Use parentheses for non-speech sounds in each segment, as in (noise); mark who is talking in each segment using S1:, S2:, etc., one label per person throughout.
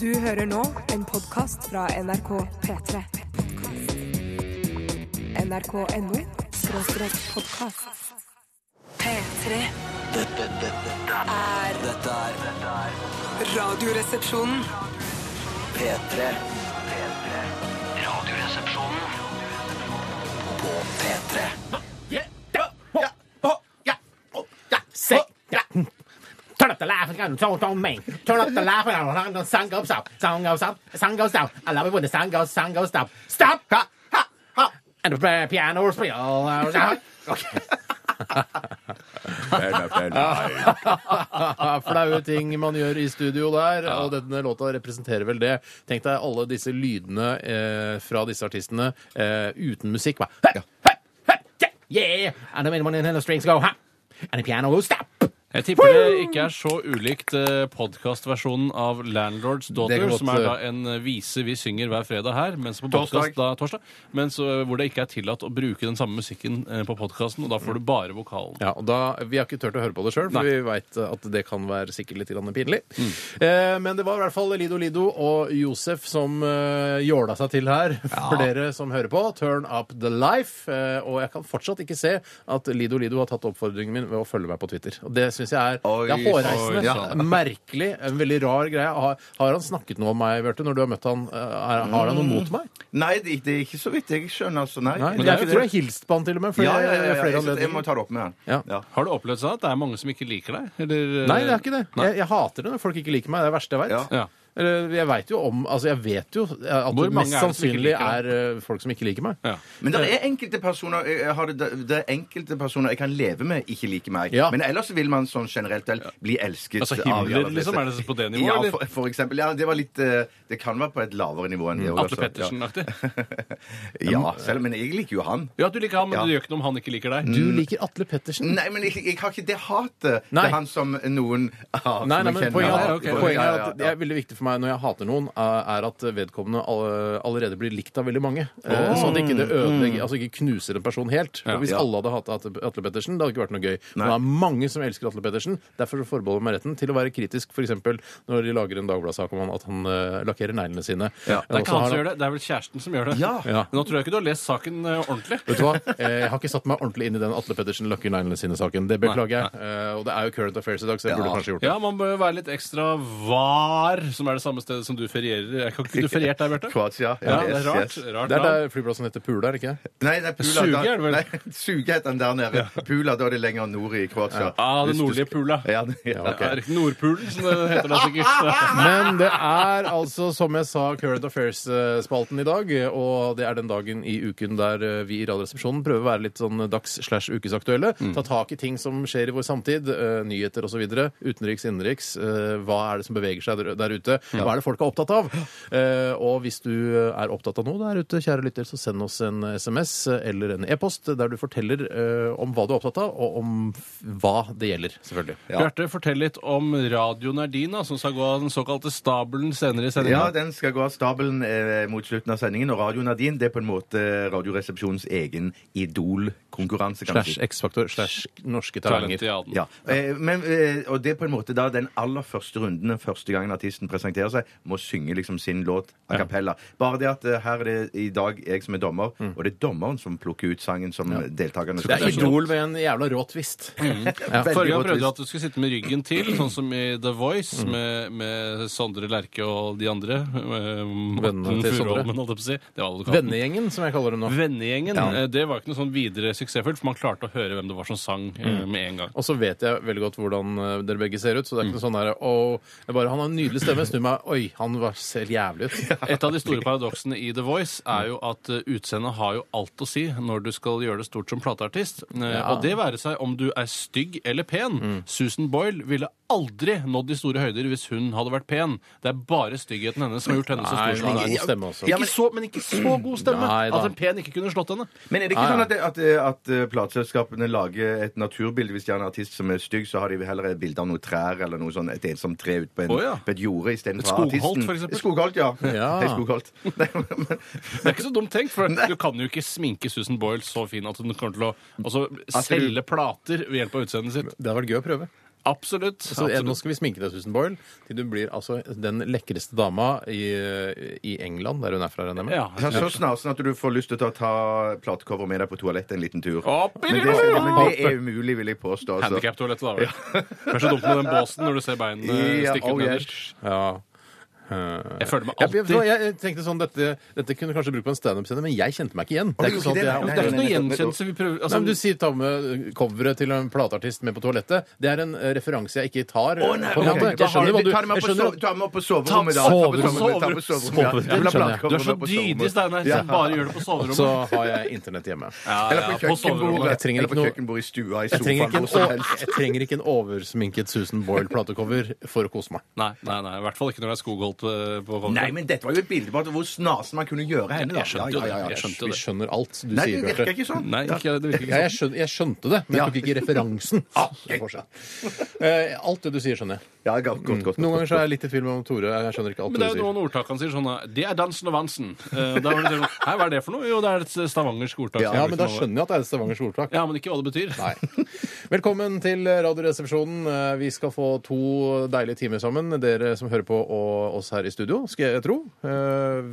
S1: Du hører nå en podkast fra NRK P3. NRK.no skråstrek podkast. P3
S2: Dette, dette, dette,
S1: er
S2: dette er dette er
S1: Radioresepsjonen.
S2: P3. P3. Radioresepsjonen på P3.
S3: Say, yeah. Turn up the lights and so don't me. Turn up the lights and the sun goes up. Sun goes up. Sun goes down. I love it when the sun goes, sun goes down. Stop! Ha, ha, ha. And the uh, piano will play. Okay.
S4: Flaue ting man gjør i studio der, og denne låta representerer vel det. Tenk deg alle disse lydene eh, fra disse artistene eh, uten musikk. Bare, «Høp, høp, høp, yeah, Yeah! And the minimum and the strings go ha! And the piano will stop!
S5: Jeg tipper det ikke er så ulikt podkastversjonen av Landlords
S4: Det
S5: Daughter,
S4: kan godt,
S5: som er da
S4: eh,
S5: en eh, vise vi synger hver fredag her, mens på
S6: Torsdag.
S5: podcast, da, torsdag, mens eh, hvor det ikke er tillatt å bruke den samme musikken eh, på podkasten, og da får du bare vokalen.
S4: Ja, og da, Vi har ikke turt å høre på det sjøl, for
S5: Nei.
S4: vi veit at det kan være sikkert litt grann pinlig.
S6: Mm.
S4: Eh, men det var i hvert fall Lido Lido og Josef som eh, jåla seg til her. (laughs) For dere som hører på, turn up the life. Eh, og jeg kan fortsatt ikke se at Lido Lido har tatt oppfordringen min ved å følge meg på Twitter. Og Det syns jeg er,
S6: Oi,
S4: det er hårreisende.
S6: oi, ja.
S4: (laughs) Merkelig. En veldig rar greie. Har, har han snakket noe om meg, Bjarte, når du har møtt han? Eh, er, har han noe mot meg?
S6: Nei, det, det er ikke så vidt jeg skjønner. Altså, nei.
S4: Nei,
S6: Det er
S4: jeg tror
S6: ikke
S4: jeg
S6: det.
S4: har hilst på han til og med. For
S6: ja, ja, ja, ja,
S4: flere
S6: jeg, jeg,
S4: anledninger.
S6: må ta det opp med han.
S4: Ja.
S5: Har du opplevd sånn at det er mange som ikke liker deg? Eller, eh,
S4: Nei, det er ikke det.
S5: Nei.
S4: Jeg, jeg hater det når folk ikke liker meg. Det er det verste jeg veit.
S6: Ja.
S5: Ja.
S4: Eller, Jeg vet jo om Altså, jeg vet jo at
S5: Hvor
S4: det mest
S5: mange er det som ikke
S4: sannsynlig
S5: liker
S4: er eh, folk som ikke liker meg.
S5: Ja.
S6: Men det er enkelte personer eh, jeg- jeg har det, det er enkelte personer jeg kan leve med ikke liker meg.
S4: Ja.
S6: Men ellers vil man sånn generelt vel bli elsket. av
S5: Altså
S6: de
S5: Himmler,
S6: aller fleste.
S5: liksom? Er det på det nivået,
S6: Ja,
S5: eller?
S6: for, for eksempel. Ja, det var litt eh, Det kan være på et lavere nivå enn det. også,
S5: Mm. Atle
S6: altså.
S5: Pettersen-aktig?
S6: Ja. (laughs) ja, selv Men jeg liker jo han.
S5: Ja, du liker han, men
S6: Ja.
S5: det gjør ikke noe om han ikke liker deg.
S4: Du liker Atle Pettersen.
S6: Nei, men jeg, jeg har ikke det hatet
S4: Nei.
S6: til han som noen
S4: Nei,
S6: har. som
S4: nei,
S6: jeg
S4: men
S6: kjenner.
S4: poenget er,
S5: Ja, ok.
S4: poenget er
S6: Ja, ja,
S4: at det er veldig viktig for meg når jeg hater noen, eh, er at vedkommende all- allerede blir likt av veldig mange. Eh, Sånn at ikke det
S5: Mm.
S4: ødelegger, altså ikke knuser en person helt. Og hvis
S6: Ja.
S4: alle hadde hatt Atle Atle Pettersen, det hadde ikke vært noe gøy. Men det
S6: Nei.
S4: er mange som elsker Atle Pettersen. Derfor så forbeholder jeg meg retten til å være kritisk, f.eks. når de lager en Dagbladet-sak om han, at han eh, lakkerer neglene sine. Eh,
S6: Ja.
S5: Det er ikke han som gjør det, det er vel kjæresten som gjør det.
S6: Ja.
S4: Ja.
S5: Men Nå tror jeg ikke du har lest saken eh, ordentlig.
S4: Vet du hva? Eh, Jeg har ikke satt meg ordentlig inn i den Atle Pettersen lakker neglene sine-saken. Det beklager jeg. Eh, Og det er jo Current Affairs i dag, så jeg burde kanskje gjort det.
S5: Ja, man bør være litt ekstra var, som er det samme stedet som du ferierer. Jeg kan ikke du feriert der,
S6: (laughs)
S5: Bjarte?
S6: Kroatia.
S5: Ja, det er rart.
S6: Yes, yes.
S5: rart
S4: Det er
S5: land.
S4: der flyplassen heter Pula, er det ikke det?
S6: Nei, nei, Pula,
S5: Suge
S6: da-
S5: er det vel?
S6: Nei, (laughs) Suge heter den der nede. Pula, da er det lenger nord i Kroatia.
S5: Ah, den
S6: Hvis du
S5: nordlige
S6: skal-
S5: pula.
S6: Ja, det- ja,
S5: Ja, er det ikke Nordpulen, som det heter der sikkert.
S4: Men det er altså, som jeg sa, Current Affairs-spalten i dag. Og det er den dagen i uken der eh, vi i Radioresepsjonen prøver å være litt sånn dags-slash-ukesaktuelle. Ta tak i ting som skjer i vår samtid. eh, Nyheter osv. Utenriks, innenriks. eh, Hva er det som beveger seg der- der ute? Hva er det folk er opptatt av? Eh, Og hvis du er opptatt av noe der ute, kjære lytter, så send oss en SMS eller en e-post der du forteller eh, om hva du er opptatt av, og om f- hva det gjelder, selvfølgelig.
S5: Bjarte, fortell litt om radioen er din, da, som skal gå av den såkalte stabelen senere i
S6: (laughs) Ja,
S5: sendinga.
S6: den skal gå av stabelen eh, mot slutten av sendingen. Og radioen er din. Det er på en måte Radioresepsjonens egen idolkonkurranse, kan man si.
S4: Slash X-faktor slash norske talenter.
S5: Talentiaden.
S6: Ja, eh, men, eh, og det er på en måte da den aller første runden, den første gangen artisten presenterer seg, må synge liksom sin låt a cappella. Bare det at eh, her er det i dag jeg som er dommer, og det er dommeren som plukker ut sangen som deltakerne
S4: Mm. Det
S6: skal
S4: er Idol med en jævla rå (laughs) twist. Ja.
S5: Forrige gang prøvde du at du skulle sitte med ryggen til, sånn som i The Voice,
S6: Mm.
S5: med, med Sondre Lerche og de andre.
S4: Vennene
S5: Vennene
S4: til Sondre.
S5: Holdt jeg på å si. Det var advokaten.
S4: Vennegjengen, som jeg kaller dem nå.
S5: Vennegjengen. eh, Det var ikke noe sånn videre suksessfullt, for man klarte å høre hvem det var som sang eh, med en gang.
S4: Mm. Og så vet jeg veldig godt hvordan eh, dere begge ser ut. Så det er ikke noe sånn der, «Å, det er bare, Han har en nydelig stemme. Snu meg. Oi, han var, ser jævlig (laughs) ut.
S5: Et av de store paradoksene i The Voice er jo at eh, utseendet har jo alt å si når du skal gjøre det stort som plateartist. Eh, Og det være seg om du er stygg eller pen.
S4: Mm.
S5: Susan Boyle ville aldri nådd de store høyder hvis hun hadde vært pen. Det er bare styggheten hennes som har gjort henne så
S4: Nei,
S5: stor som
S4: men
S5: hun
S4: god
S5: er.
S4: stemme også.
S5: Ikke så, men ikke så god stemme
S4: Nei da.
S5: at en pen ikke kunne slått henne.
S6: Men er det ikke sånn at, at, at eh, plateselskapene lager et naturbilde? Hvis de har en artist som er stygg, så har de heller et bilde av noen trær eller noe sånn, et ensomt tre ute på, en-
S5: Å, ja.
S6: på et jorde istedenfor
S5: Et skogholt,
S6: artisten.
S5: for eksempel.
S6: Skogholt, ja.
S4: Ja.
S6: Hei, skogholt. (laughs) Nei, men,
S5: Det er ikke så dumt tenkt, for du kan jo ikke sminke Susan Boyle så fin at hun kommer til å altså,
S6: du-
S5: selge plater ved hjelp av utseendet sitt.
S4: Det hadde vært gøy å prøve.
S5: Absolutt.
S6: Altså,
S4: Så eh, nå
S5: absolutt.
S4: skal vi sminke deg, Susan Boyle, til du blir altså den lekreste dama i, i England, der hun er fra, regner jeg med.
S5: Ja.
S6: Så, så snarsen at du får lyst til å ta platecover med deg på toalettet en liten tur.
S5: Opp i
S6: Men det,
S5: lufta!
S6: men det er umulig, vil jeg påstå. altså.
S5: Handikaptoalettet, da. vel. Kanskje dumt med den båsen når du ser beinene
S6: Ja,
S5: stikke ut
S6: oh, yes.
S5: nederst.
S4: Ja. Eh,
S5: Jeg føler meg
S4: Jeg,
S5: alltid
S4: jeg, jeg tenkte sånn, dette, dette kunne du kanskje bruke på en standup-scene, men jeg kjente meg ikke igjen. Det er
S6: du
S4: ikke sånn at
S6: gjorde
S4: jeg,
S5: Det
S6: det?
S5: er
S6: Nei,
S5: ikke noe
S6: nei, nei,
S5: gjenkjennelse vi prøver
S4: Nei,
S5: altså,
S4: men Du sier ta med coveret til en plateartist med på toalettet. Det er en eh, referanse jeg ikke tar.
S6: Å, nei,
S4: på en
S6: ok,
S4: måte.
S6: da
S4: Jeg
S6: har
S4: skjønner
S6: vi-
S4: hva du
S6: Ta dem
S4: jeg
S6: opp på
S4: skjønner-
S6: so- ta dem opp på soverommet, da.
S5: Ta
S6: Ta dem
S5: på
S6: opp på
S5: soverommet.
S6: soverommet, ja.
S4: Soverommet,
S6: Ja, la
S4: skjønner jeg.
S6: platecover
S5: Du er så
S6: på
S5: dydig,
S6: soverommet.
S5: Steinar,
S6: Ja.
S5: som bare gjør det
S4: Og
S5: på
S4: så
S5: soverommet.
S4: har jeg internett
S6: (laughs)
S4: hjemme.
S5: Ja,
S6: Eller
S5: ja,
S6: på
S5: på soverommet.
S4: Jeg
S6: kjøkkenbordet.
S4: trenger
S6: Eller
S4: ikke
S6: på
S4: noe-
S6: kjøkkenbordet i stua, i
S4: Jeg trenger ikke
S6: sofaen,
S4: en,
S6: hvor som
S4: å-
S6: helst.
S4: jeg trenger ikke en oversminket Susan Boyle-platecover for å kose meg.
S5: Nei, nei, nei, i hvert fall ikke når det er skogholt eh, på coveret.
S6: Nei, men dette var jo et bilde på at hvor snasen man kunne gjøre henne. da.
S5: Jeg skjønte jo
S6: Ja, ja, ja, ja.
S5: det. Jeg skjønte
S4: Vi
S5: det.
S4: skjønner alt du
S6: Nei,
S4: sier,
S6: det virker
S4: Bjarte.
S6: ikke sånn.
S5: Nei, ikke, det
S4: Ja,
S5: virker ikke
S4: jeg, skjønner, jeg skjønte det, men jeg
S6: Ja. Ah,
S4: tok ikke
S6: (laughs)
S4: referansen. Eh, Alt det du sier, skjønner jeg. Mm.
S6: Ja, godt, godt, godt.
S4: Noen ganger så er jeg litt i tvil om Tore. Jeg skjønner ikke alt
S5: Men det
S4: Tore
S5: er jo
S4: sier.
S5: noen ordtak han sier sånn eh, Det er dansen og vansen. Eh, Da var det sånn, Hei, hva er det for noe? Jo, det er et stavangersk ordtak. Liksom,
S4: Ja, men da skjønner jeg at det er et stavangersk ordtak.
S5: Ja, men ikke hva det betyr.
S4: Nei. Velkommen til Radioresepsjonen. Eh, Vi skal få to deilige timer sammen, dere som hører på og oss her i studio, skal jeg tro. Eh, Det er lov,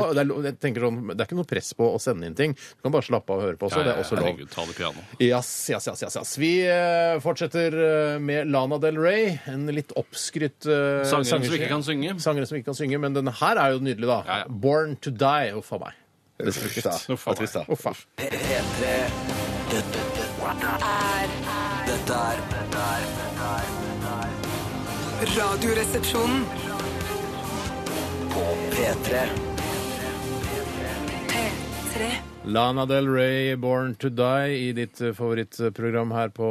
S5: Absolutt.
S4: det er, lov- jeg tenker sånn, det er ikke noe press på å sende inn ting. Du kan bare slappe av og høre på også. Det er også lov.
S5: Herregud, ta det piano.
S4: Yes, yes, yes, yes, yes. Vi eh, fortsetter eh, med Lana Del Rey, en litt oppskrytt uh,
S5: Sangeren som ikke kan synge.
S4: Sangeren som ikke kan synge, Men denne her er jo nydelig, da.
S5: Ja, ja.
S4: Born to Die. Uff a meg.
S6: Trist, da.
S5: Uff a meg.
S6: Trist, da.
S4: Uff a.
S2: P- P3 Dette er Dette er Dette er
S1: Radioresepsjonen.
S2: På P3
S1: P3.
S4: Lana Del Rey, Born to Die, i ditt eh, favorittprogram her på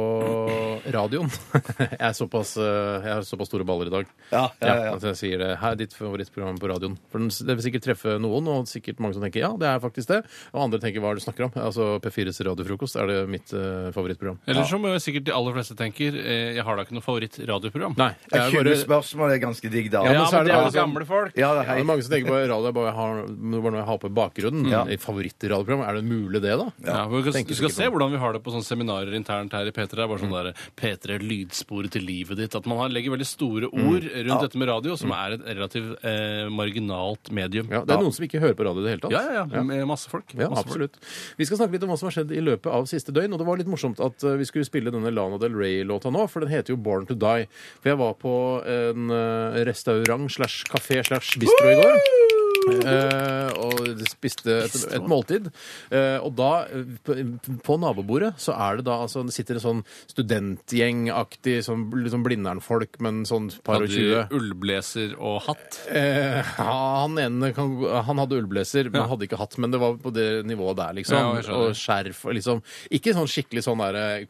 S4: radioen. (laughs) jeg, er såpass, eh, jeg har såpass store baller i dag.
S6: Ja, ja, ja.
S4: At jeg sier det. Her er ditt favorittprogram på radioen. For den, det vil sikkert treffe noen, og sikkert mange som tenker ja, det er faktisk det. Og andre tenker hva er det du snakker om? Altså P4s radiofrokost er det mitt eh, favorittprogram.
S5: Eller som eh, sikkert de aller fleste tenker, eh, jeg har da ikke noe favoritt-radioprogram.
S4: Nei.
S6: Jeg
S4: Jeg bare,
S6: skjønner spørsmålet er ganske digg, da.
S4: Ja,
S5: Ja,
S4: men så er
S5: men
S4: det
S5: det er
S4: bare
S5: jo gamle folk.
S6: Ja, da,
S4: ja,
S6: hei.
S4: det er mange som tenker på radio, jeg bare har, det var noe jeg har på i bakgrunnen. I Favorittradioprogram, er det mulig det, da?
S5: Ja, for du skal, du
S4: Tenker
S5: skal
S4: sikkert Mm.
S5: se
S4: på det.
S5: hvordan vi har det på sånne seminarer internt her i P3. Det er bare sånn der P3 lydsporet til livet ditt. At man har, legger veldig store
S4: Mm.
S5: ord rundt dette med radio, som er et relativt eh, marginalt medium.
S4: Ja, det er noen som ikke hører på radio i det hele tatt.
S5: ja, ja, ja. Med masse folk.
S4: Ja,
S5: masse
S4: absolutt. Vi skal snakke litt om hva som har skjedd i løpet av siste døgn. Og det var litt morsomt at eh, vi skulle spille denne Lana Del Rey-låta nå, for den heter jo Born to Die. For jeg var på en eh, restaurant slash kafé slash bistro i går. eh, og spiste et, et måltid. Eh, og da, eh, på, på nabobordet, så er det da altså det sitter en sånn studentgjengaktig, sånn, liksom Blindern-folk, men sånn par
S5: folk.
S4: og tjue.
S5: Hadde ullblazer og hatt.
S4: Eh, ja, han ene kan, han hadde ullblazer, men
S5: Ja.
S4: hadde ikke hatt. Men det var på det nivået der,
S5: Ja,
S4: liksom.
S5: jeg skjønner.
S4: og skjerf og liksom Ikke sånn skikkelig sånn der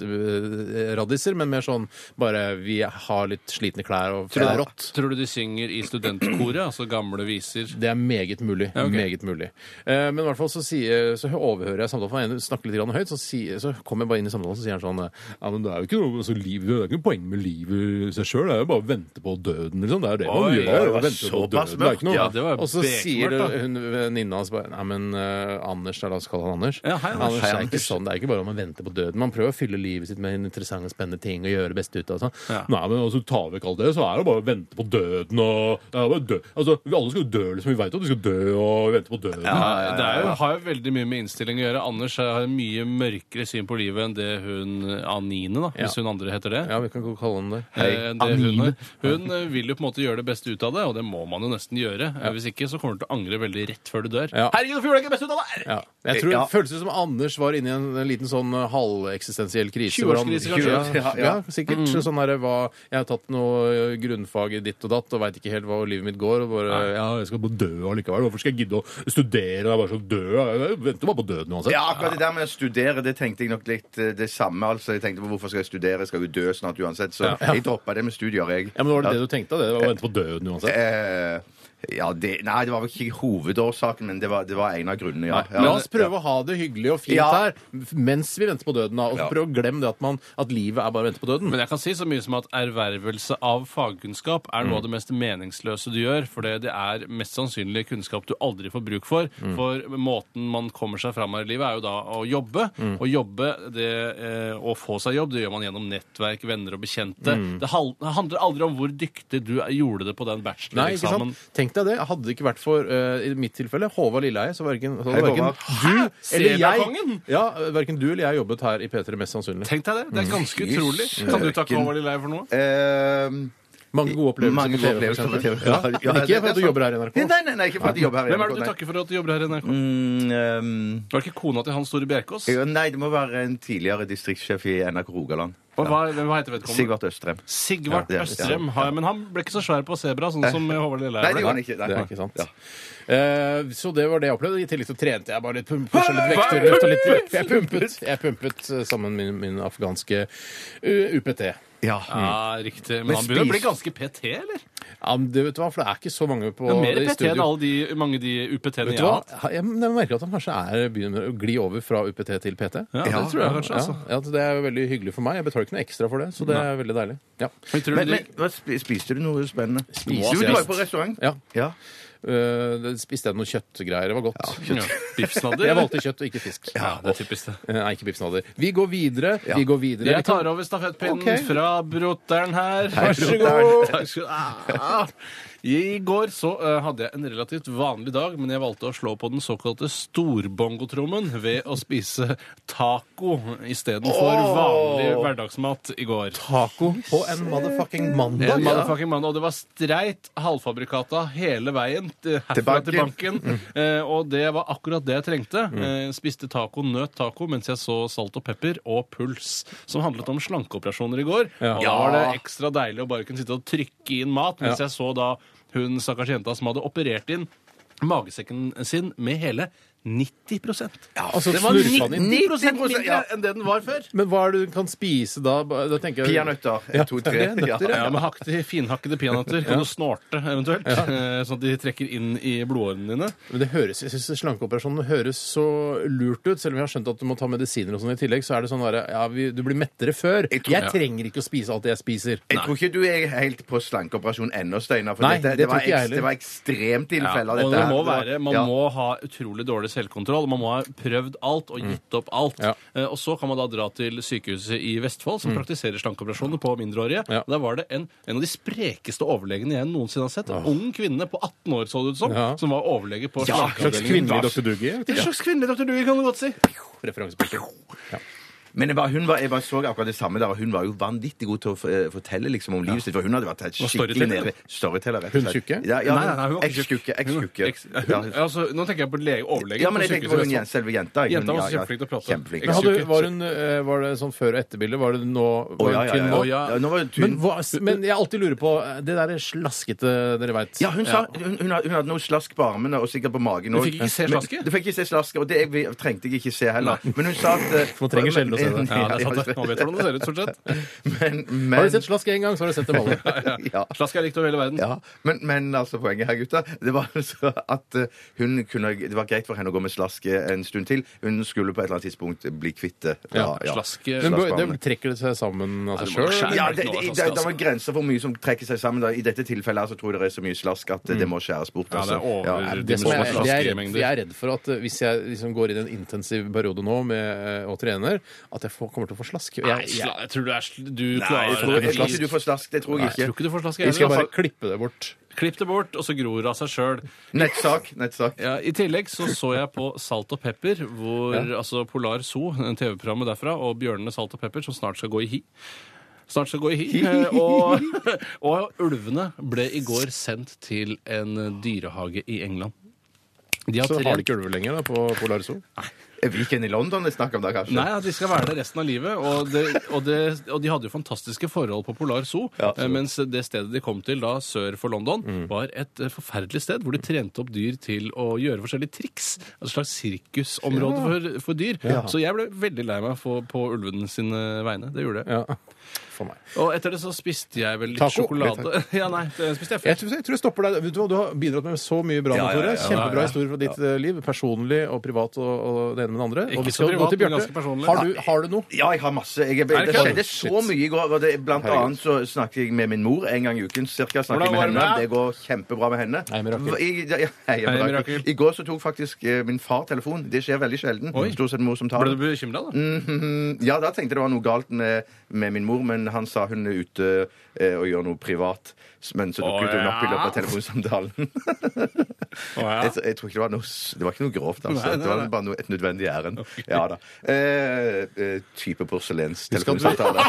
S4: kommunist-Marx-radiser, men mer sånn bare vi har litt slitne klær og det er rått.
S5: Tror du de synger i studentkoret? Altså gamle viser?
S4: Det er meget mulig.
S5: ok.
S4: meget mulig. Eh, men i hvert fall så, sier, så overhører jeg samtalen. For en snakker litt grann høyt, så, sier, så kommer jeg bare inn i samtalen så sier han sånn eh, Ja, men det er jo ikke noe altså, livet, det er ikke noe poeng med livet i seg sjøl. Det er jo bare å vente på døden, liksom. Det er jo det man
S5: Oi,
S4: gjør.
S6: det
S4: å
S6: var
S4: vente på
S6: såpass
S4: døden. Det er ikke noe-
S5: mørkt. Ja, det var
S4: og så
S5: bekmørkt,
S4: sier
S5: da.
S4: hun venninna hans bare Nei, men eh, Anders, da, la oss kalle han Anders.
S5: Ja, hei, Anders.
S4: Anders
S5: Hei,
S4: er ikke
S5: Anders.
S4: sånn. Det er ikke bare om å vente på døden. Man prøver å fylle livet sitt med interessante, spennende ting og gjøre det beste ut av det. sånn.
S5: Ja.
S4: Nei, men altså, ta vekk alt det, så er det bare å vente på døden og det er bare å dø. Altså, vi Alle skal jo dø, liksom. Vi veit jo at vi skal dø og vente på døden.
S5: Nei, Det er jo, har jo veldig mye med innstilling å gjøre. Anders har en mye mørkere syn på livet enn det hun Anine, da, hvis
S4: Ja.
S5: hun andre heter det.
S4: Ja, vi kan ikke kalle den det.
S5: Eh, det hun, er. hun eh, vil jo på en måte gjøre det beste ut av det, og det må man jo nesten gjøre. Eh, Hvis ikke så kommer du til å angre veldig rett før du dør.
S4: Ja.
S5: Herregud, hvorfor gjorde jeg ikke det beste ut av det?!
S4: Ja. Jeg tror
S6: Eh, Ja.
S4: Det føles ut som Anders var inne i en, en liten sånn eh, halveksistensiell krise. hvor han-
S5: 20-årskrise, kanskje?
S4: Ja, ja, sikkert.
S6: Mm.
S4: Sånn der, hva, jeg har tatt noe eh, grunnfag i ditt og datt og veit ikke helt hva livet mitt går. Og bare, ja, jeg skal bare dø allikevel. Hvorfor skal jeg gidde å studere? Jeg er bare så død. Jeg venter bare på døden uansett.
S6: Ja, akkurat det der med å studere, det tenkte jeg nok litt eh, det samme. altså. Jeg tenkte på hvorfor skal jeg studere, jeg skal jo dø (laughs) snart uansett. Så jeg droppa det med studier, jeg.
S4: Ja, men Var det det du tenkte? Det var å vente på døden uansett?
S6: Eh, Ja, det, nei, det var vel ikke hovedårsaken, men det var, det var en av grunnene, ja. ja
S4: La oss prøve å ha det hyggelig og fint
S6: Ja.
S4: her mens vi venter på døden. da, Og
S6: Ja.
S4: prøve å glemme det at, man, at livet er bare å vente på døden.
S5: Men jeg kan si så mye som at ervervelse av fagkunnskap er noe av det mest meningsløse du gjør, for det det er mest sannsynlig kunnskap du aldri får bruk for. For måten man kommer seg fram her i livet, er jo da å jobbe. Å jobbe det, eh, å få seg jobb, det gjør man gjennom nettverk, venner og bekjente. Det hal- det handler aldri om hvor dyktig du er- gjorde det på den
S4: Nei, ikke
S5: bacheloreksamen.
S4: sant? Tenk deg det. Hadde det ikke vært for, eh, i mitt tilfelle, Håvard Lilleheie, så verken, så
S6: Hei,
S4: hadde verken
S6: Håvard.
S4: du
S5: Hæ?
S4: eller jeg
S5: Seniorkongen?
S4: ja, verken du eller jeg jobbet her i P3, mest sannsynlig.
S5: Tenk deg det. Det er ganske
S6: Fy
S5: utrolig. Kan du takke
S6: søken.
S5: Håvard Lilleheie for noe?
S6: Ehm,
S4: Mange gode opplevelser
S6: mange
S4: på TV, for
S6: opplevelser på
S4: eksempel.
S6: TV.
S4: Ja,
S6: Ja,
S4: men
S6: det
S4: ikke
S6: er
S4: for at du
S6: sant.
S4: jobber her i NRK.
S6: Nei, nei, nei, ikke for at de jobber her. i
S5: Hvem er det
S6: NRK,
S5: du
S6: nei.
S5: takker for at du jobber her i NRK?
S6: Mm, ehm,
S5: Var det ikke kona til Hans Store Bjerkås?
S6: ja, nei, det må være en tidligere distriktssjef i NRK Rogaland.
S5: Hva, hva, hva heter vedkommende?
S6: Sigvart Østrem.
S5: Sigvard
S6: Ja, ja, ja.
S5: Østrem. har jeg- Men han ble ikke så svær på sebra, sånn som Håvard
S6: Nei,
S5: Lilleheie
S6: det
S5: ble.
S6: gjorde han ikke. Nei.
S4: Det er ikke sant.
S6: Ja.
S4: Eh, så det var det jeg opplevde. I tillegg så trente jeg bare litt, pum- pusha litt vekter. løfta Litt, vekt. jeg pumpet, jeg pumpet eh, sammen med min, min afghanske eh, UPT.
S6: Ja.
S5: Ja, riktig. Men,
S6: Men
S5: han begynner å bli
S6: spis-
S5: ganske PT, eller?
S4: Ja, men det, vet du hva, for det er ikke så mange på
S5: Det er mer
S4: i
S5: PT enn
S4: studio.
S5: alle de, mange de UPT-ene
S4: Vet
S5: jeg
S4: du
S5: har
S4: hva?
S5: hatt.
S4: Jeg jeg merker at han kanskje er, begynner å gli over fra UPT til PT.
S5: Ja, det tror jeg kanskje, altså.
S4: Ja, ja, det er jo veldig hyggelig for meg. Jeg betaler ikke noe ekstra for det, så det er veldig deilig. Ja.
S5: Men tror du
S6: Men,
S5: det-
S6: men hva, spi- spiste du noe spennende?
S4: Spiste
S6: jo, du
S4: jeg-
S6: var jo på restaurant.
S4: ja.
S6: Ja.
S4: Øh, det- spiste jeg noen kjøttgreier. Det var godt.
S5: (laughs) ja, Biffsnadder?
S4: Jeg valgte kjøtt og ikke fisk.
S5: Ja, det er typisk det.
S4: Eh, Nei, ikke biffsnadder. Vi går videre. Vi går videre. liksom.
S5: Jeg tar over stafettpinnen
S4: Ok.
S5: fra brotter'n her. Vær
S4: brotter'n.
S5: så god. Takk skal du ha. I går så eh, hadde jeg en relativt vanlig dag, men jeg valgte å slå på den såkalte storbongotrommen ved å spise taco istedenfor vanlig hverdagsmat i går.
S4: taco på en motherfucking mandag.
S5: En motherfucking mann, og det var streit halvfabrikata hele veien til- herfra
S6: Til
S5: til banken.
S4: Mm.
S5: Eh, og det var akkurat det jeg trengte. Eh, spiste taco, nøt taco mens jeg så Salt og pepper og Puls, som handlet om slankeoperasjoner i går. Og da var det ekstra deilig å bare kunne sitte og trykke inn mat, mens
S4: Ja.
S5: jeg så da hun stakkars jenta som hadde operert inn magesekken sin med hele 90
S4: altså,
S5: Det var
S4: snurpa
S5: 90
S4: den inn.
S5: mindre enn det den var før.
S4: Men hva er det du kan spise da? Ba- da tenker jeg,
S6: Peanøtter. En,
S4: Ja,
S6: to,
S4: det
S6: tre.
S4: er nøtter,
S5: Ja, med hakte, finhakkede peanøtter kan du snorte eventuelt, eh, sånn at de trekker inn i blodårene dine.
S4: Men det høres, jeg synes Slankeoperasjonen høres så lurt ut. Selv om jeg har skjønt at du må ta medisiner og sånn i tillegg, så er det sånn derre ja, vi- Du blir mettere før. Jeg, trenger ikke å spise alt det jeg spiser.
S6: Jeg tror ikke du er helt på slankeoperasjon ennå, Steinar. For
S4: Nei,
S6: dette,
S4: det
S6: det,
S4: tror
S6: var
S4: ikke jeg
S6: ekst-
S4: heller.
S6: det var ekstremtilfeller,
S5: og
S6: dette
S5: det
S6: her.
S5: må
S6: var-
S5: være, man
S6: ja.
S5: må ha utrolig dårlig selvkontroll. Man må ha prøvd alt
S6: Mm.
S5: og gitt opp alt.
S4: Ja.
S5: Eh, Og så kan man da dra til sykehuset i
S6: Mm.
S5: Vestfold, som praktiserer slankeoperasjoner på mindreårige.
S4: Ja.
S5: Der var det en, en av de sprekeste overlegene jeg noensinne har sett. En ung kvinne på 18 år, så det ut som,
S4: Ja.
S5: som var overlege på
S4: Slags
S5: slankeavdelingen.
S4: kvinnelig Dr. Doogie?
S5: En slags kvinnelig doktor Dui, kan du godt si.
S4: Referansepunkter.
S6: Men jeg, var, hun var, jeg var, så akkurat det samme der, og hun var jo vanvittig god til å f- eh, fortelle liksom, om livet sitt. For hun hadde vært helt skikkelig
S5: storyteller.
S6: nede. Storyteller, rett
S4: Hun
S6: og slett.
S4: tjukke?
S6: Ja, ja,
S5: Nei, nei, nei, hun var ikke tjukk.
S6: Eks-tjukke.
S5: Eks-
S6: Eks-tjukke. Ja,
S5: hun- altså, nå tenker jeg på lege, overlegen.
S6: ja, men
S5: på
S6: jeg tenkte
S5: sykehuset
S6: på
S5: i
S6: hun
S5: Vestfold.
S6: jen- selve jenta. jeg.
S5: Jenta var
S6: Ja, ja,
S5: kjempeflink til å prate.
S6: Kjempeflink.
S4: Men hadde, var, hun, eh, var det sånn før og etterbilde? Var det nå
S6: Å,
S4: var
S6: ja,
S4: hun
S6: ja,
S4: tynn
S6: ja.
S4: nå?
S6: Ja, nå var hun tynn.
S4: Men, hva, men jeg alltid lurer på eh, det derre slaskete dere veit.
S6: Ja, hun, sa, hun, hun, hadde, hun hadde noe slask på armene og sikkert på magen
S5: Du
S6: òg.
S5: fikk ikke se slasket?
S6: Du fikk ikke se slasket, og det jeg, vi- trengte jeg ikke se heller. Men hun sa at eh,
S4: Man trenger sjelden
S6: (laughs)
S4: å se det.
S5: Ja, det er sant. det. Man vet hvordan det ser ut, stort sett.
S6: Men, men,
S4: Har du sett slask én gang, så har du sett dem
S5: (laughs)
S4: alle.
S6: (laughs) Ja.
S5: Slask er likt over hele verden.
S6: Ja, men, men altså poenget her, gutta, det var altså at eh, hun kunne, det var greit for henne å gå med slasket en stund til. Hun skulle på et eller annet tidspunkt bli kvitt det. Ja, ja.
S5: Slaske-
S4: Men bør-
S6: Slaskbarnet.
S4: det trekker det seg sammen altså. av
S5: det
S4: seg
S5: må skjære.
S4: sjøl?
S6: Ja, det, det, det, det, er vel grenser for hvor mye som trekker seg sammen. Da. I dette tilfellet her så tror jeg det er så mye slask at det må skjæres bort.
S5: Mm. Ja, det er
S6: altså.
S5: over-
S4: Det som jeg, det jeg, er redd,
S5: Slaskemengder.
S4: jeg er redd for at eh, hvis jeg liksom går inn i en intensiv periode nå med å trener, at jeg får, kommer til å få slask. Jeg,
S5: Nei,
S4: jeg,
S5: sla,
S4: jeg,
S5: jeg tror du er sl- Du
S6: Jeg
S5: klarer
S6: tror
S5: det.
S6: ikke du får slask, det tror jeg
S5: Jeg tror
S6: ikke.
S5: ikke du får slask.
S4: skal
S5: heller.
S4: bare klippe det bort.
S5: Klipp det bort, og så gror det av seg sjøl.
S6: Nettsak. nettsak.
S5: Ja, I tillegg så så jeg på Salt og pepper, hvor altså Polar Zoo, TV-programmet derfra, og Bjørnene Salt og pepper, som snart skal gå i hi. Snart skal gå i hi. eh, Og, og ulvene ble i går sendt til en dyrehage i England. De har
S4: Så har de
S5: trent
S4: ikke ulver lenger da, på Polarzo.
S6: Weekend i London det er snakk om da, kanskje?
S5: Nei, at de skal være der resten av livet. Og, det, og, det, og de hadde jo fantastiske forhold på Polar Zoo.
S6: Ja,
S5: eh, mens det stedet de kom til da sør for London,
S4: Mm.
S5: var et eh, forferdelig sted hvor de trente opp dyr til å gjøre forskjellige triks. altså Et slags sirkusområde for, for dyr. Så jeg ble veldig lei meg for, på ulvene sine vegne. Det gjorde jeg.
S4: Ja. For meg.
S5: Og etter det så spiste jeg vel litt
S4: Taco?
S5: sjokolade. (laughs) ja, nei, det spiste jeg
S4: Jeg
S5: først.
S4: tror jeg, tror jeg stopper deg. Vet Du hva, du har bidratt med så mye bra,
S6: Ja, ja,
S4: Tore.
S6: ja, ja,
S5: ja,
S4: Kjempebra
S5: ja.
S4: historier fra ditt eh, liv. Personlig og privat og, og det ene med det andre.
S5: Ikke
S4: Og vi
S5: så
S4: skal gå
S5: privat,
S4: til
S5: men
S4: Bjarte.
S5: ganske personlig.
S4: Har, du- har du noe?
S6: Ja, jeg har masse. Jeg, det,
S5: det ikke
S6: skjedde
S5: det?
S6: så mye i går. og Det, blant annet så snakket jeg med min mor en gang i uken. Cirka snakket jeg med
S5: Hvordan går det
S6: henne.
S5: med
S6: Det går kjempebra med henne.
S4: Hei, Mirakel.
S6: I, ja, ja, hei,
S5: Hei,
S6: Mirakel.
S5: Mirakel.
S6: I går så tok faktisk eh, min far telefon. Det skjer veldig sjelden.
S5: Oi.
S6: Stort sett mor som tar
S5: Ble du
S6: den.
S5: bekymra, da?
S6: Mhm. Ja, da tenkte jeg det var noe galt med, med min mor, men han sa hun er ute eh, og gjør noe privat. Men så dukket
S5: Å,
S6: hun opp i
S5: ja.
S6: løpet av
S5: (laughs)
S6: telefonsamtalen. (laughs) Jeg, jeg tror ikke det var noe s- Det var ikke noe grovt, altså.
S5: Nei, nei,
S6: Det var
S5: nei.
S6: bare noe, et nødvendig ærend. Ja da. Eh, eh, type porselens-telefonsamtale.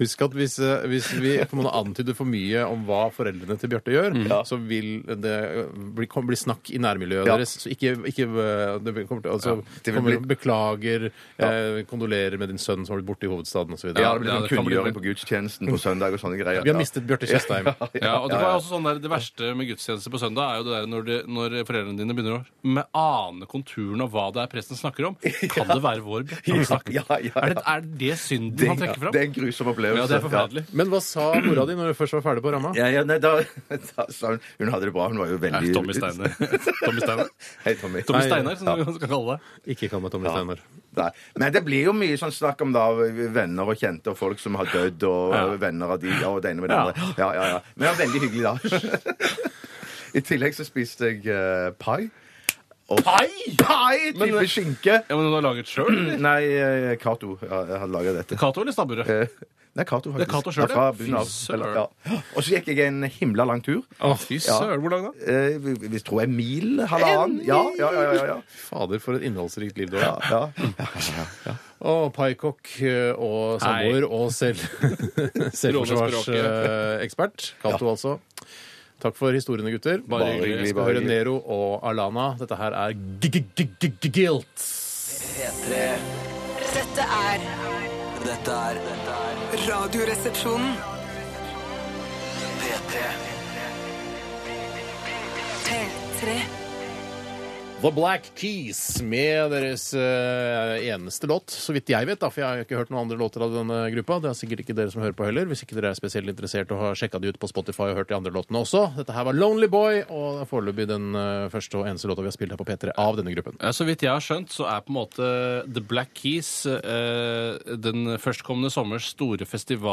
S4: Husk at hvis, eh, hvis vi på en måte antyder for mye om hva foreldrene til Bjarte gjør,
S6: Mm.
S4: så vil det eh, bli, kom, bli snakk i nærmiljøet
S6: Ja.
S4: deres. Så ikke, ikke eh, det kommer til, altså,
S6: det vil
S4: kommer,
S6: bli-
S4: Beklager, eh, kondolerer med din sønn som har blitt borte i hovedstaden osv.
S6: Ja,
S4: Ja,
S6: det blir
S5: (laughs) ja,
S6: sånn
S5: det kan bli
S6: kunngjøring
S5: det.
S6: på gudstjenesten på søndag og sånne greier.
S4: vi har mistet Bjarte
S6: (laughs)
S4: Tjøstheim.
S5: Ja, og Det var også sånn der, det verste med gudstjeneste på søndag er jo det der når, det, når foreldrene dine begynner å med ane konturen av hva det er presten snakker (laughs) om. Kan det være vår Bjarte han snakker?
S6: Ja, ja, ja.
S5: Er, det, er det synden
S6: Det,
S5: han trekker
S6: det
S5: fram?
S6: er en grusom opplevelse.
S5: Ja, det er forferdelig.
S4: Men hva sa mora di når du først var ferdig på ramma?
S6: Ja, ja, nei, da, (laughs) da sa hun Hun hadde det bra. Hun var jo veldig
S5: Nei, Tommy
S6: (laughs)
S5: Steiner. (laughs) Tommy Steiner,
S6: Hei, Tommy.
S5: Tommy
S4: Nei,
S5: Steiner som vi skal kalle det.
S4: Ikke kall meg Tommy Steinar.
S6: Nei. Men det blir jo mye sånn snakk om da venner og kjente og folk som har dødd, og venner av de og det ene med det
S5: Ja.
S6: andre. Ja, ja, ja. Men det var veldig hyggelig, da. (laughs) I tillegg så spiste jeg eh, pai. Og-
S5: Pai?
S6: Pai!
S5: Men-
S6: Type skinke.
S5: Ja, men Hun har laget sjøl?
S6: Nei, eh, Cato ja, jeg hadde laga dette.
S5: Cato eller stabburet?
S6: Eh, Nei, Cato, faktisk.
S5: Det er Cato selv,
S6: Ja, fra
S5: ja.
S6: bunnen av.
S5: Fy søren.
S6: Eller, ja. Og så gikk jeg en himla lang tur.
S5: Fy
S6: Ja.
S5: søren, hvor lang da?
S6: Eh, vi- vi tror jeg mil, halvannen. Ja, ja, ja. ja, ja.
S4: Fader, for et innholdsrikt liv du
S6: ja,
S4: har.
S6: ja.
S4: Og paikokk eh, og samboer og selv (laughs) selvforsvarsekspert. Cato, altså. Takk for historiene, gutter.
S5: Bare hyggelig,
S4: Vi skal
S6: bare
S4: høre
S6: hyggelig.
S4: Nero og Alana. Dette her er g- g- g- g- g- guilt.
S2: P3.
S7: Dette er
S2: Dette er dette er
S1: Radioresepsjonen.
S2: P3.
S7: P3.
S4: The Black Keys med deres eh, eneste låt, så vidt jeg vet, da, for jeg har jo ikke hørt noen andre låter av denne gruppa. Det er sikkert ikke dere som hører på heller, hvis ikke dere er spesielt interessert og har sjekka de ut på Spotify og hørt de andre låtene også. Dette her var Lonely Boy, og det er foreløpig den eh, første og eneste låta vi har spilt her på P3 av denne gruppen.
S5: Ja, Eh, så vidt jeg har skjønt, så er på en måte The Black Keys eh, den førstkommende sommers store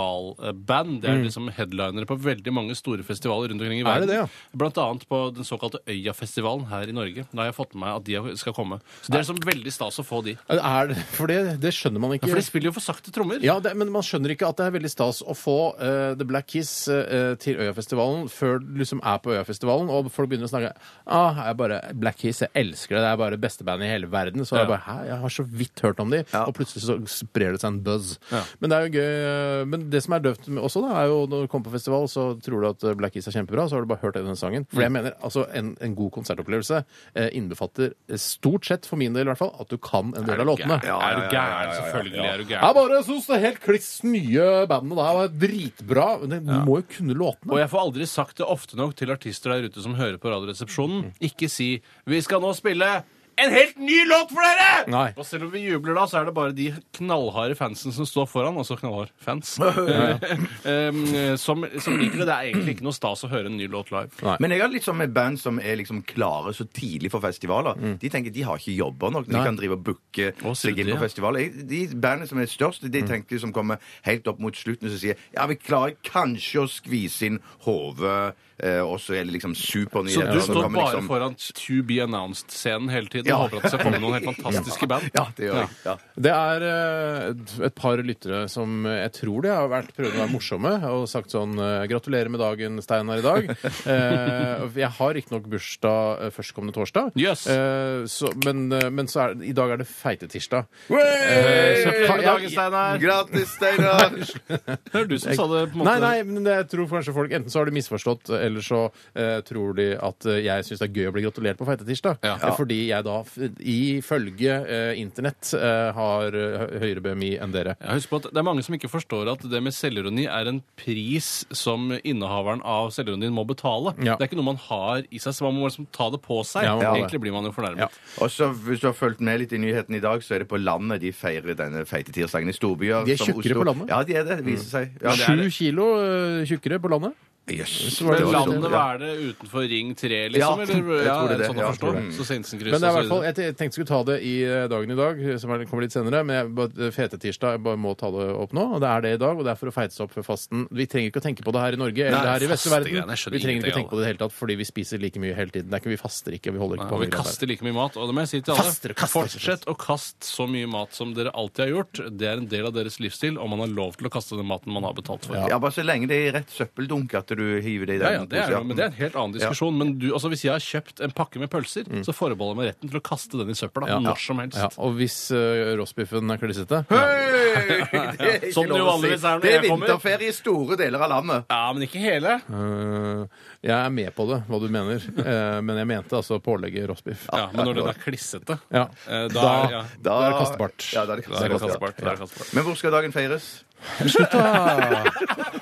S5: festivalband. Det er liksom headlinere på veldig mange store festivaler rundt omkring i
S4: Mm. Er det
S5: verden.
S4: det, ja?
S5: Blant annet på den såkalte Øyafestivalen her i Norge. Da har jeg fått med meg at de skal komme. Så det er liksom veldig stas å få de.
S4: Er- Er, for det, det skjønner man ikke.
S5: For de spiller jo for sakte trommer.
S4: Ja, det, men man skjønner ikke at det er veldig stas å få eh, The Black Kiss eh, til Øyafestivalen før du liksom er på Øyafestivalen, og folk begynner å snakke ah, jeg er bare Black Kiss, jeg elsker det, det er bare beste bandet i hele verden. Så er jeg bare Hæ, jeg har så vidt hørt om de, og plutselig så sprer det seg en buzz. Men det er jo gøy. eh, Men det som er døvt med også, da, er jo når du kommer på festival, så tror du at eh, Black Kiss er kjempebra, så har du bare hørt denne sangen.
S5: Mm.
S4: For jeg mener altså en, en god konsertopplevelse eh, innbefatter eh, stort sett, for min del i hvert fall, at du kan en del av låtene.
S5: Ja, er du gæren? Selvfølgelig er du
S4: Jeg
S5: gæren.
S4: bare syns det helt kliss nye bandet der var dritbra. Men det må jo kunne
S5: Og
S4: låtene.
S5: jeg får aldri sagt det ofte nok til artister der ute som hører på Radioresepsjonen. Ikke si 'Vi skal nå spille en helt ny låt for dere!'
S4: Nei.
S5: Og selv om vi jubler da, så er det bare de knallharde fansen som står foran, altså knallhard
S6: (laughs)
S5: fans, (laughs) um, som, som liker det. Det er egentlig ikke noe stas å høre en ny låt live.
S6: Men jeg har litt sånn med band som er liksom klare så tidlig for festivaler. De tenker de har ikke jobber nok. De
S4: Nei.
S6: kan drive og booke
S5: Mm. Å, sier
S6: seg
S5: du
S6: inn på
S5: det, ja? Mm.
S6: festivaler. Jeg- De bandene som er størst, de tenker som kommer helt opp mot slutten, som sier ja, vi klarer kanskje å skvise inn hodet, eh, og så er det liksom
S5: Så
S6: supernyheter.
S5: du
S6: som
S5: står
S6: kommer
S5: bare
S6: liksom-
S5: foran To Be Announced-scenen hele tiden
S6: (laughs) Ja.
S5: og håper at det skal komme noen helt fantastiske band?
S6: Ja, det gjør jeg. Ja.
S4: Det er eh, et par lyttere som eh, jeg tror de har vært prøvd å være morsomme og sagt sånn eh, Gratulerer med dagen, Steinar, i
S5: (laughs)
S4: dag. Eh, Jeg har riktignok bursdag eh, førstkommende torsdag,
S5: Yes.
S4: Eh, så, men, eh, men så er, i dag er det feitetirsdag.
S6: Hey!
S4: Så
S5: Gratulerer Eh, med
S4: jeg-
S5: dagen, Steinar.
S6: Grattis, Steinar!
S5: Det er du som sa det. på en måte.
S4: Nei, nei, men det- jeg tror kanskje folk enten så har de misforstått, eller så eh, tror de at eh, jeg syns det er gøy å bli gratulert på feitetirsdag.
S5: Ja.
S4: Eh, Fordi jeg da da f- ifølge eh, internett eh, har eh, høyere BMI enn dere.
S5: Ja, husk på at Det er mange som ikke forstår at det med selvironi er en pris som innehaveren av selvironien må betale.
S4: Ja.
S5: Det er ikke noe man har i seg, så man må liksom ta det på seg.
S4: Ja, man må det.
S5: Egentlig blir man jo fornærmet.
S4: Ja.
S6: (laughs) Og så Hvis du har fulgt med litt i nyhetene i dag, så er det på landet de feirer denne feite tirsdagen i storbyer.
S4: De er
S6: som
S4: tjukkere
S6: Oslo.
S4: på landet?
S6: Ja, de er det. det viser
S5: Mm.
S6: seg. Ja, det er
S4: Sju kilo eh, tjukkere på landet.
S6: det. Jøss.
S4: Men
S5: Men
S6: Det var
S4: landet
S6: sånn,
S5: landet,
S6: ja.
S5: hva er det utenfor Ring 3, liksom?
S6: Ja,
S5: eller,
S6: jeg tror det er det.
S5: sånn
S6: Ja,
S5: å
S6: jeg tror
S5: forstå.
S6: det.
S5: Så Sensenkrysset
S4: Men det er i
S5: og
S4: hvert
S5: så
S4: fall,
S5: videre.
S4: jeg te- tenkte jeg skulle ta det i eh, dagen i dag, som er- kommer litt senere. Men jeg, bare- fete tirsdag, jeg bare må ta det opp nå. Og det er det i dag, og det er for å feite seg opp før fasten. Vi trenger ikke å tenke på det her i Norge eller
S5: Nei,
S4: her i
S5: fastegreiene, jeg
S4: Vesterverden.
S5: skjønner
S4: Vi trenger ikke å
S5: ingenting
S4: tenke på det i det hele tatt, fordi vi spiser like mye hele tiden. Det er ikke, vi faster ikke, vi holder ikke
S5: Nei,
S4: på
S5: og vi
S4: med greier.
S5: kaster like mye mat. Og det må jeg si til alle.
S4: Kaster og kaster.
S5: Fortsett å kaste så mye mat som dere alltid har gjort. Det er en del av deres livsstil, og man har lov til å kaste den maten man har betalt for.
S6: Ja, bare så lenge det er i rett søppeldunk at du hiver det i den.
S5: Ja, ja, det er, jo-
S6: posen.
S5: men det er
S6: (laughs)
S5: en helt annen diskusjon. Men du, altså, hvis jeg har kjøpt en pakke med pølser, så forbeholder jeg meg retten til å kaste den i søpla
S4: Mm. Ja.
S5: når som helst.
S4: Ja, og hvis uh, roastbiffen er klissete
S5: (laughs)
S6: Hei! Det er ikke
S5: Som det jo
S6: lov å si.
S5: vanligvis er når
S6: Det er
S5: jeg kommer.
S6: vinterferie i store deler av landet.
S5: Ja, men ikke hele.
S4: Eh, Jeg er med på det, hva du
S5: (laughs)
S4: mener, Eh, men jeg mente altså pålegget roastbiff.
S5: Ja, men når den er klissete,
S4: Ja.
S5: eh, da,
S4: Da-
S5: ja,
S6: Da-
S4: Det er kastbart.
S6: Ja, da er det
S5: da
S6: kastbart. ja.
S5: er det kastbart. Da er det kastbart.
S6: Men hvor skal dagen feires?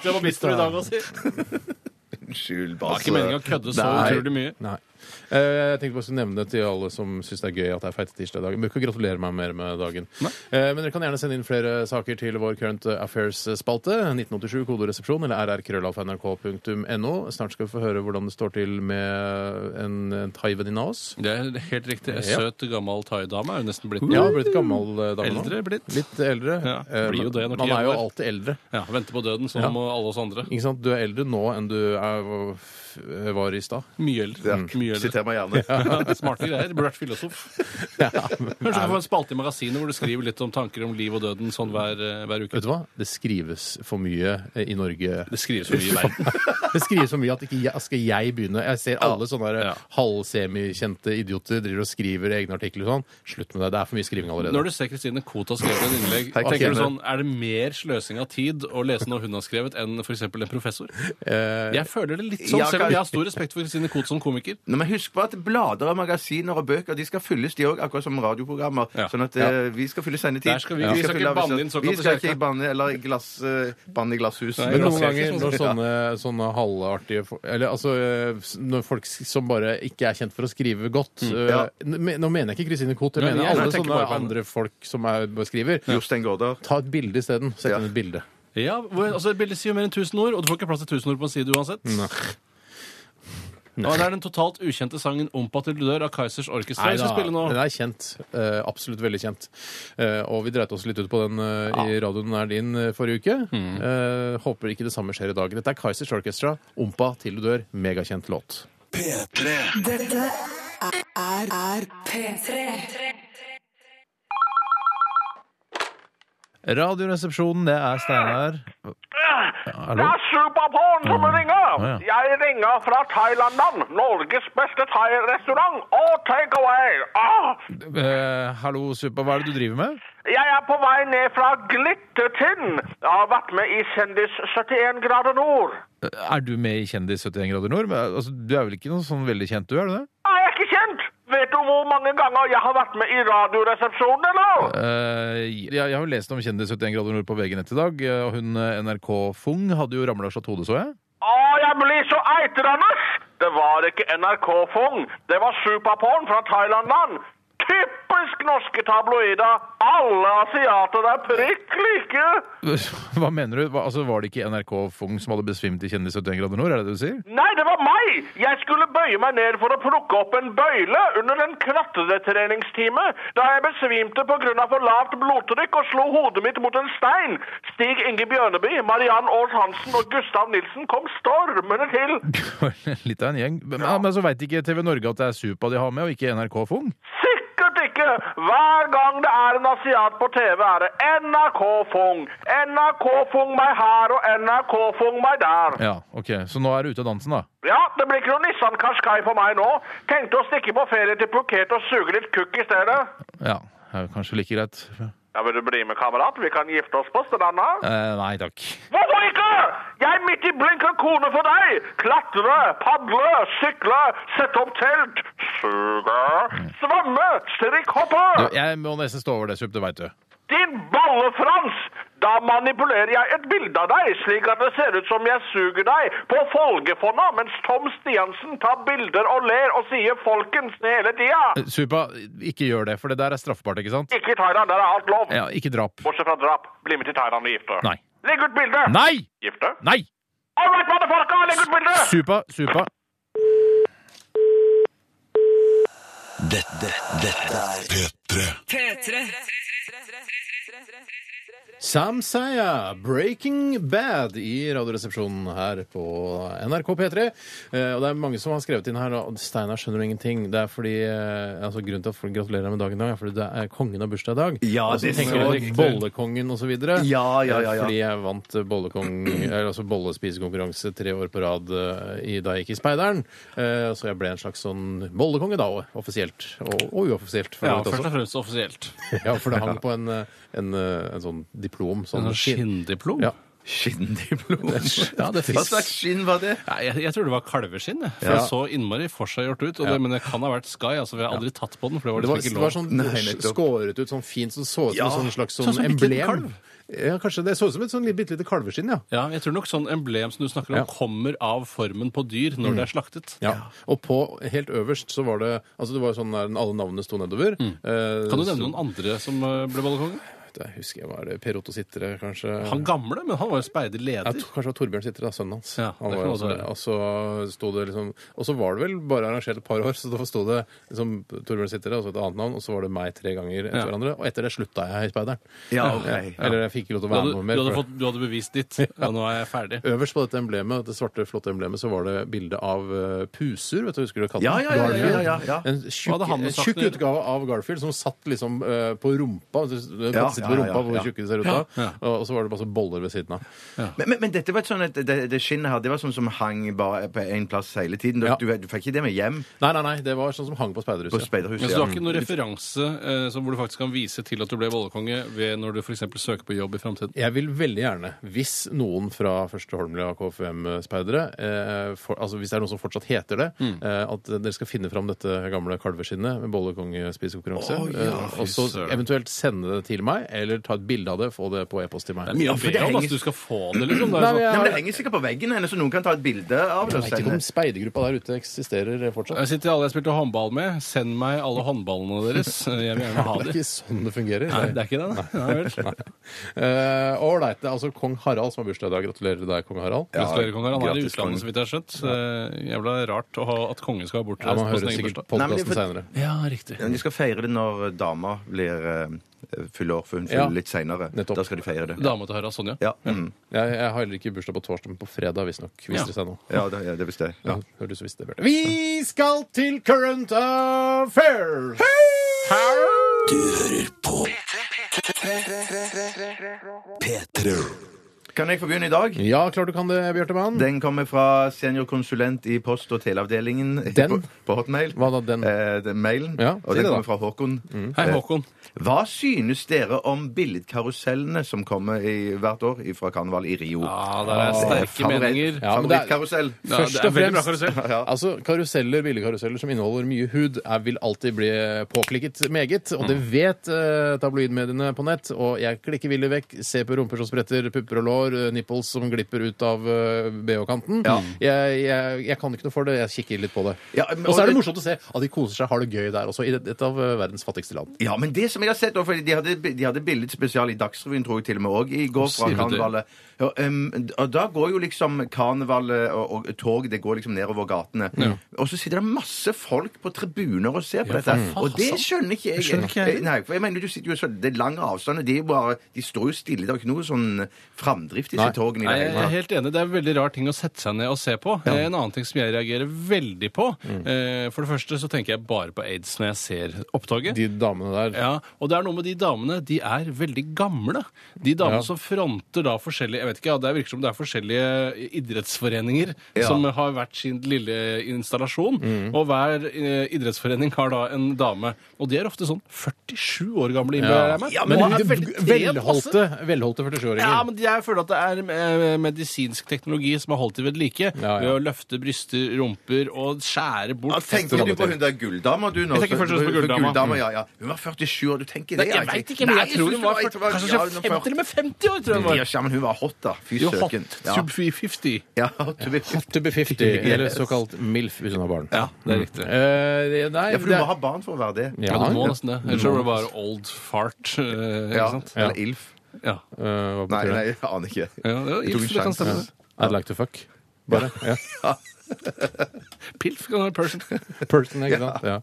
S5: Det var bistro i dag altså. også. Det
S6: Unnskyld,
S5: var
S6: bare
S5: ikke meningen å kødde så
S4: Nei.
S5: utrolig mye.
S4: Nei. Eh, jeg tenkte bare å skulle nevne det til alle som syns det er gøy at det er feite tirsdag i dag. Bruker å gratulere meg mer med dagen. Eh, men dere kan gjerne sende inn flere saker til vår Current Affairs-spalte. 1987 kodoresepsjon eller rrkrøllalfa.nrk.no. Snart skal vi få høre hvordan det står til med en, en thaivenninne av oss.
S5: Det er helt riktig. En
S4: Ja.
S5: søt, gammel thaidame er jo nesten blitt
S4: Ja, blitt gammel eh, dame nå.
S5: Eldre blitt.
S4: Litt eldre.
S5: Ja,
S4: Eh,
S5: blir jo det når
S4: Man
S5: tiden
S4: er jo
S5: går.
S4: alltid eldre.
S5: Ja, Venter på døden, som
S4: Ja.
S5: alle oss andre.
S4: Ikke sant? Du er eldre nå enn du er, var i
S5: (laughs)
S4: stad.
S5: Mye eldre. Mm. Mye eldre.
S6: Siter meg
S5: (laughs)
S6: gjerne.
S5: Smarte greier. Burde vært filosof. Kanskje du får en spalte i magasinet hvor du skriver litt om tanker om liv og døden sånn hver, eh, hver uke.
S4: Vet du hva? Det skrives for mye eh, i Norge.
S5: Det skrives så mye i verden.
S4: Det skrives for mye at ikke jeg, skal jeg begynne. Jeg ser alle sånne der
S5: Ja.
S4: halvsemikjente idioter driver og skriver egne artikler og sånn. Slutt med det. Det er for mye skriving allerede.
S5: Når du ser Kristine Koht har skrevet et innlegg,
S6: Hei,
S5: tenker
S6: Kristine.
S5: du sånn Er det mer sløsing av tid å lese noe hun har skrevet, enn f.eks. en professor?
S4: Eh,
S5: Jeg føler det litt sånn,
S6: ja,
S5: selv om
S6: kanskje.
S5: jeg har stor respekt for Kristine Koht som komiker.
S6: Nå, men husk på at blader og magasiner og bøker de skal fylles, de òg, akkurat som radioprogrammer.
S5: Ja.
S6: Sånn at eh, vi skal fylle sendetid.
S5: Der skal vi- vi skal
S6: fylle
S5: ikke
S6: av-
S5: banne inn såkalte
S6: Vi skal
S5: kjerker.
S6: ikke banne eller glass, eh, banne i glasshus.
S5: Nei,
S4: Men
S5: Jeg
S4: noen
S5: ser ikke
S4: ganger
S5: sånn
S4: når
S5: som-
S4: sånne, sånne halvartige fo- Eller altså eh, s- Når folk s- som bare ikke er kjent for å skrive godt eh,
S6: Ja.
S4: n- men- Nå mener jeg ikke Kristine Koht, jeg
S5: Mm. Nei,
S4: mener
S5: jeg-
S4: alle
S5: jeg tenker
S4: sånne
S5: bare på henne.
S4: andre folk som er, bare skriver.
S6: Jostein Gaarder.
S4: Ta et bilde isteden. Sett
S6: Ja.
S4: inn et bilde.
S5: Ja, hvor- altså Et bilde sier jo mer enn 1000 ord, og du får ikke plass til 1000 ord på en side uansett. Og det er den totalt ukjente sangen 'Ompa til du dør' av Kaizers Orkester vi skal spille
S4: Den
S5: nå.
S4: er kjent. eh, absolutt veldig kjent. Eh, og vi dreit oss litt ut på den eh, i radioen nær din eh, forrige uke.
S8: Mm.
S4: Eh, håper ikke det samme skjer i dag. Dette er Kaizers Orchestra, 'Ompa til du dør'. Megakjent låt.
S2: P3.
S7: Dette er, er P3.
S8: Radioresepsjonen, det er Steinar.
S9: Det er Superporn som ringer!
S8: ja.
S9: Jeg ringer fra Thailandland, Norges beste thai-restaurant og takeaway. Ah,
S8: Eh, hallo, Super, hva er det du driver med?
S9: jeg er på vei ned fra Glittertind. Jeg har vært med i Kjendis 71 grader nord.
S8: Er du med i Kjendis 71 grader nord? Men, Altså, du er vel ikke noe sånn veldig kjent, du? er du det?
S9: Er jeg ikke kjent? Vet du hvor mange ganger jeg har vært med i Radioresepsjonen, eller?
S8: Eh, jeg, jeg har jo lest om Kjendis 71 grader nord på VG nett i dag, eh, og hun eh, NRK Fung hadde jo ramla av slått hodet, så jeg. (laughs)
S9: Å, jeg blir så eitrende! Det var ikke NRK-fong, det var superporn fra Thailandland. Typisk norske tabloider. Alle asiater er prikk like.
S8: Hva mener du? Hva, altså, var det ikke NRK Fung som hadde besvimt i Kjendis 71 grader nord? Er det det du sier? (laughs)
S9: Nei, det var meg! Jeg skulle bøye meg ned for å plukke opp en bøyle under en klatretreningstime, da jeg besvimte pga. for lavt blodtrykk og slo hodet mitt mot en stein. Stig Inge Bjørneby, Mariann Aas Hansen og Gustav Nilsen kom stormende til.
S8: Litt av en gjeng. Men, men så veit ikke TV Norge at det er Supa de har med, og ikke NRK Fung?
S9: Sikkert ikke! Hver gang det er en asiat på TV, er det NRK Fung. NRK Fung meg her og NRK Fung meg der.
S8: Ja, ok. Så nå er du ute av dansen, da?
S9: Ja, det blir ikke noe Nissan Qashqai for meg nå. Tenkte å stikke på ferie til Phuket og suge litt kukk i stedet.
S8: Ja. er jo Kanskje like greit.
S9: Ja, Vil du bli med, kamerat? Vi kan gifte oss på stranda.
S8: Eh, nei takk.
S9: Hvorfor ikke? Jeg er midt i blinken kone for deg! Klatre, padle, sykle, sette opp telt, suger. Svamme! Strikkhoppe!
S8: Du, jeg må nesten stå over det, Sup, det veit du.
S9: Din bollefrans! Da manipulerer jeg et bilde av deg, slik at det ser ut som jeg suger deg på Folgefonna, mens Tom Stiansen tar bilder og ler og sier 'folkens' hele tida.
S8: Supa, ikke gjør det, for det der er straffbart, ikke sant?
S9: Ikke i Thailand, der er alt lov.
S8: Ja, ikke drap.
S9: Bortsett fra drap. Bli med til Thailand og gifte.
S8: Nei.
S9: Legg ut bilde!
S8: Nei!
S9: Gifte?
S8: Nei!
S9: All right, motherfucker! Legg ut bilde!
S8: Supa, Supa.
S2: Dette, dette er
S7: P3.
S4: Samsaya, Breaking Bad i Radioresepsjonen her på NRK P3. Eh, og det er mange som har skrevet inn her og Steinar skjønner ingenting. Det er fordi, eh, altså Grunnen til at folk gratulerer deg med dagen i dag, er fordi det er kongen har bursdag i dag.
S6: Ja,
S4: og så
S6: det
S4: Altså, tenker
S6: så
S4: de
S6: jeg.
S4: bollekongen og så videre.
S6: Ja, ja, ja, ja.
S4: Eh, Fordi jeg vant eh, bollekong, (clears throat) eller altså bollespisekonkurranse tre år på rad eh, i, da jeg gikk i Speideren. Eh, så jeg ble en slags sånn bollekonge da òg, offisielt. Og, og uoffisielt. for
S5: Ja,
S4: så vidt også.
S5: først og fremst offisielt.
S4: Ja, for det hang på en, eh, en, eh, en sånn diplom. Sånn
S5: En skinndiplom?
S4: Ja. (laughs)
S6: Skinndiplom.
S4: Ja, det
S6: Hva
S4: fins.
S6: slags skinn var det?
S5: Nei, jeg, jeg tror det var kalveskinn. jeg. For
S4: Ja.
S5: det så innmari forseggjort ut. Og det, men det kan ha vært Sky. altså Vi har aldri tatt på den. for det var
S4: Det var,
S5: liksom
S4: det
S5: ikke
S4: var
S5: lov.
S4: sånn
S6: Nei, nettopp.
S4: skåret ut, sånn fint, som så ut som
S6: Ja,
S4: et sånn slags
S5: sånn
S4: sånn
S5: som en liten
S4: emblem.
S5: kalv.
S4: Ja, kanskje Det så ut som et sånn li- bitte lite kalveskinn, ja.
S5: Ja, jeg tror nok sånn emblem som du snakker om,
S4: Ja.
S5: kommer av formen på dyr når det er slaktet.
S4: ja. Og på helt øverst så var det altså det var jo sånn der alle navnene sto nedover. Eh,
S5: Mm. Kan du nevne
S4: så-
S5: noen andre som eh, ble bollekonge?
S4: Jeg husker jeg var det Per Otto Sittre, kanskje.
S5: Han gamle, men han var jo speiderleder.
S4: Ja, to- kanskje det var Torbjørn Sittre, da, sønnen hans.
S5: Ja, det
S4: han
S5: kan
S4: var,
S5: godt
S4: også,
S5: være.
S4: og, så sto det liksom, og så var det vel bare arrangert et par år, så da sto det liksom, Torbjørn Sittre og så et annet navn, og så var det meg tre ganger etter
S5: Ja.
S4: hverandre. Og etter det slutta jeg i Speideren.
S6: Ja, ok.
S4: Eller jeg fikk ikke lov til
S5: Du
S4: å
S5: hadde,
S4: være med mer.
S5: du, hadde
S4: for-
S5: fått, du hadde bevist ditt. Ja, nå er jeg ferdig.
S4: Øverst på dette emblemet, det svarte, flotte emblemet, så var det bilde av eh, puser. vet du, Husker du katten?
S6: Ja, ja, ja, ja, ja, ja, ja.
S4: En
S5: Hva
S4: tjukk,
S5: hadde han
S4: en
S5: sagt
S4: tjukk
S5: når-
S4: utgave av Garfield som satt liksom eh, på rumpa. Du, du,
S6: Ja,
S4: sitter på
S6: ja, ja,
S4: rumpa hvor
S6: ja.
S4: tjukke de ser ut da. Og, og så var det bare så boller ved siden av.
S6: Men, men, men dette var et sånn at det, det skinnet her, det var sånn som hang bare på en plass hele tiden. Du,
S4: Ja.
S6: du, du fikk ikke det med hjem
S4: Nei, nei, nei, det var sånn som hang på
S6: på
S4: speiderhuset.
S5: Men
S6: speiderhuset.
S5: så du
S6: ja.
S5: har ikke noen referanse eh, som hvor du faktisk kan vise til at du ble bollekonge ved når du f.eks. søker på jobb i framtiden?
S4: Jeg vil veldig gjerne, hvis noen fra første Holmlia KFUM-speidere eh, for- altså Hvis det er noen som fortsatt heter det,
S5: Mm.
S4: eh, at dere skal finne fram dette gamle kalveskinnet med bollekongespisekonkurranse.
S6: Å, ja,
S4: eh, og så eventuelt sende det til meg, eller ta et bilde av det, få det på e-post til meg.
S5: Det er mye
S6: Ja,
S5: å
S6: for
S5: be
S6: det
S5: om.
S6: henger-
S5: Altså, du skal få det, liksom. Det
S4: Nei,
S5: er
S4: men
S6: Nei,
S5: sånn.
S6: men Det
S4: jeg,
S6: henger sikkert på veggen hennes, så noen kan ta et bilde av det.
S4: jeg
S6: og
S4: vet ikke
S6: sende.
S4: om speidergruppa der ute eksisterer fortsatt.
S5: Jeg sier til alle jeg spilte håndball med, send meg alle håndballene deres. Eh, Jeg vil gjerne ha
S4: (laughs) Det er
S5: de.
S4: ikke sånn det fungerer.
S5: Nei, det er ikke det, nei. Nei, vel.
S4: Eh, Ålreit. det er altså kong Harald som har bursdag i dag. Gratulerer deg, kong Harald.
S5: Gratulerer, kongen. Han er i
S6: gratis, kongen.
S5: utlandet, så vidt jeg har skjønt. Eh, Jævla rart å ha, at kongen skal ha
S4: Ja, man
S5: bortreist på sin
S4: hører
S5: egen
S4: sikkert
S5: bursdag.
S6: Nei, men det er
S4: podkasten
S6: for-
S4: seinere.
S5: Ja, riktig.
S6: Men de skal feire det når dama blir eh, fyller år, for hun fyller
S4: Ja.
S6: litt seinere.
S4: Nettopp.
S6: Da skal de feire det.
S5: Dama til Harald Sonja.
S6: Ja, mm.
S4: Jeg, jeg har heller ikke bursdag på torsdag, men på fredag, visstnok. Viser
S5: Ja.
S4: det seg nå.
S6: ja, det, ja det visste jeg.
S4: Ja, hører du så visst det, Bjarte. Vi skal til Current Affairs!
S2: Du hører på P3
S6: Kan jeg få begynne i dag?
S4: Ja, klart du kan det, Bjarte Mann.
S6: Den kommer fra seniorkonsulent i post- og teleavdelingen
S4: Den?
S6: På, (laughs) på Hotmail.
S4: Hva da, den?
S6: Eh, den mailen.
S4: Ja, si
S6: og den
S4: det da. Mm.
S6: kommer fra Håkon.
S5: Hei, Håkon.
S6: Hva synes dere om billedkarusellene som kommer i, hvert år fra Karneval i Rio? Eh,
S5: Ja, der er Ah, sterke
S6: Favoritt-
S5: meninger.
S4: Ja, men det er-
S6: Favorittkarusell.
S5: Ja,
S4: Først
S5: det er
S4: og
S5: veldig bra
S4: fremst-
S5: karusell.
S6: Ja.
S4: Altså, Karuseller, billigkaruseller som inneholder mye hud, er, vil alltid bli påklikket meget. Og det vet eh, tabloidmediene på nett. Og jeg klikker villig vekk. Se på rumper som spretter, pupper og lår, eh, nipples som glipper ut av eh, BH-kanten. Jeg, jeg, jeg kan ikke noe for det. Jeg kikker litt på det.
S6: Ja, men-
S4: og så
S6: og
S4: er
S6: det-
S4: det morsomt å se at de koser seg, har det gøy der også, i et av eh, verdens fattigste land.
S6: Ja, men det som jeg har sett, og fordi de hadde, de hadde billedspesial i Dagsrevyen, tror jeg til og med òg, i går fra
S5: sier du det?
S6: karnevalet. Ja, um, og da går jo liksom karnevalet og, og tog det går liksom nedover gatene. Og så sitter det masse folk på tribuner og ser på dette. Og det skjønner ikke jeg. Eh,
S5: skjønner ikke jeg heller.
S6: Nei, for jeg mener, du sitter jo så, Det er lang avstand, og de, er jo bare, de står jo stille. Det er jo ikke noe sånn framdrift i disse togene i
S5: Nei,
S6: det
S5: jeg
S6: hele
S5: er
S6: tatt.
S5: helt enig. Det er en veldig rar ting å sette seg ned og se på. Eh, En annen ting som jeg reagerer veldig på eh, For det første så tenker jeg bare på aids når jeg ser opptoget.
S4: De damene der.
S5: Ja, og det er noe med de damene. De er veldig gamle. De damene
S4: Ja.
S5: som fronter da forskjellige Jeg vet ikke, ja, Det virker som det er forskjellige idrettsforeninger som har hvert sin lille installasjon. Og hver eh, idrettsforening har da en dame. Og de er ofte sånn 47 år gamle, innbiller jeg meg.
S4: Men
S5: Og
S4: de
S5: er veldig
S4: velholdte, velholdte 47-åringer.
S5: ja, men jeg føler at det er eh, medisinsk teknologi som har holdt det ved like
S4: ja.
S5: ved å løfte bryster, rumper og skjære bort
S6: Ja, tenker du på hun der gulldama, du nå?
S5: Jeg tenker først og
S6: For
S5: fremst på Gulddama.
S6: ja, ja. Hun var 47 år, du tenker det?
S5: Nei, jeg veit ikke, men jeg tror hun var fyrt- kanskje 50 eller med 50 år. tror jeg hun var.
S6: Ja, men hun var hot, da. Fy
S5: Jo, hot
S6: søken. Ja.
S5: sub-50.
S6: Ja, hot to be-
S4: To be 50, eller såkalt MILF hvis hun har barn.
S5: Ja, det er riktig.
S4: Eh, nei,
S6: ja, for du må ha barn for å være det.
S5: Ja, du må
S4: ja.
S5: nesten det. Ellers så blir det bare old fart. eh,
S6: Ja.
S5: Ikke sant?
S6: Eller ILF.
S5: Ja.
S4: Eh, hva
S6: Nei,
S4: betyr
S6: nei,
S4: det?
S6: jeg aner ikke.
S5: ja det er
S6: Jeg tok en
S5: Ilf, det kan
S6: sjanse.
S5: stemme. det.
S4: I'd like to fuck. Bare. Ja.
S5: Pilf kan være
S6: (laughs)
S5: person.
S4: Person, ikke sant? Ja.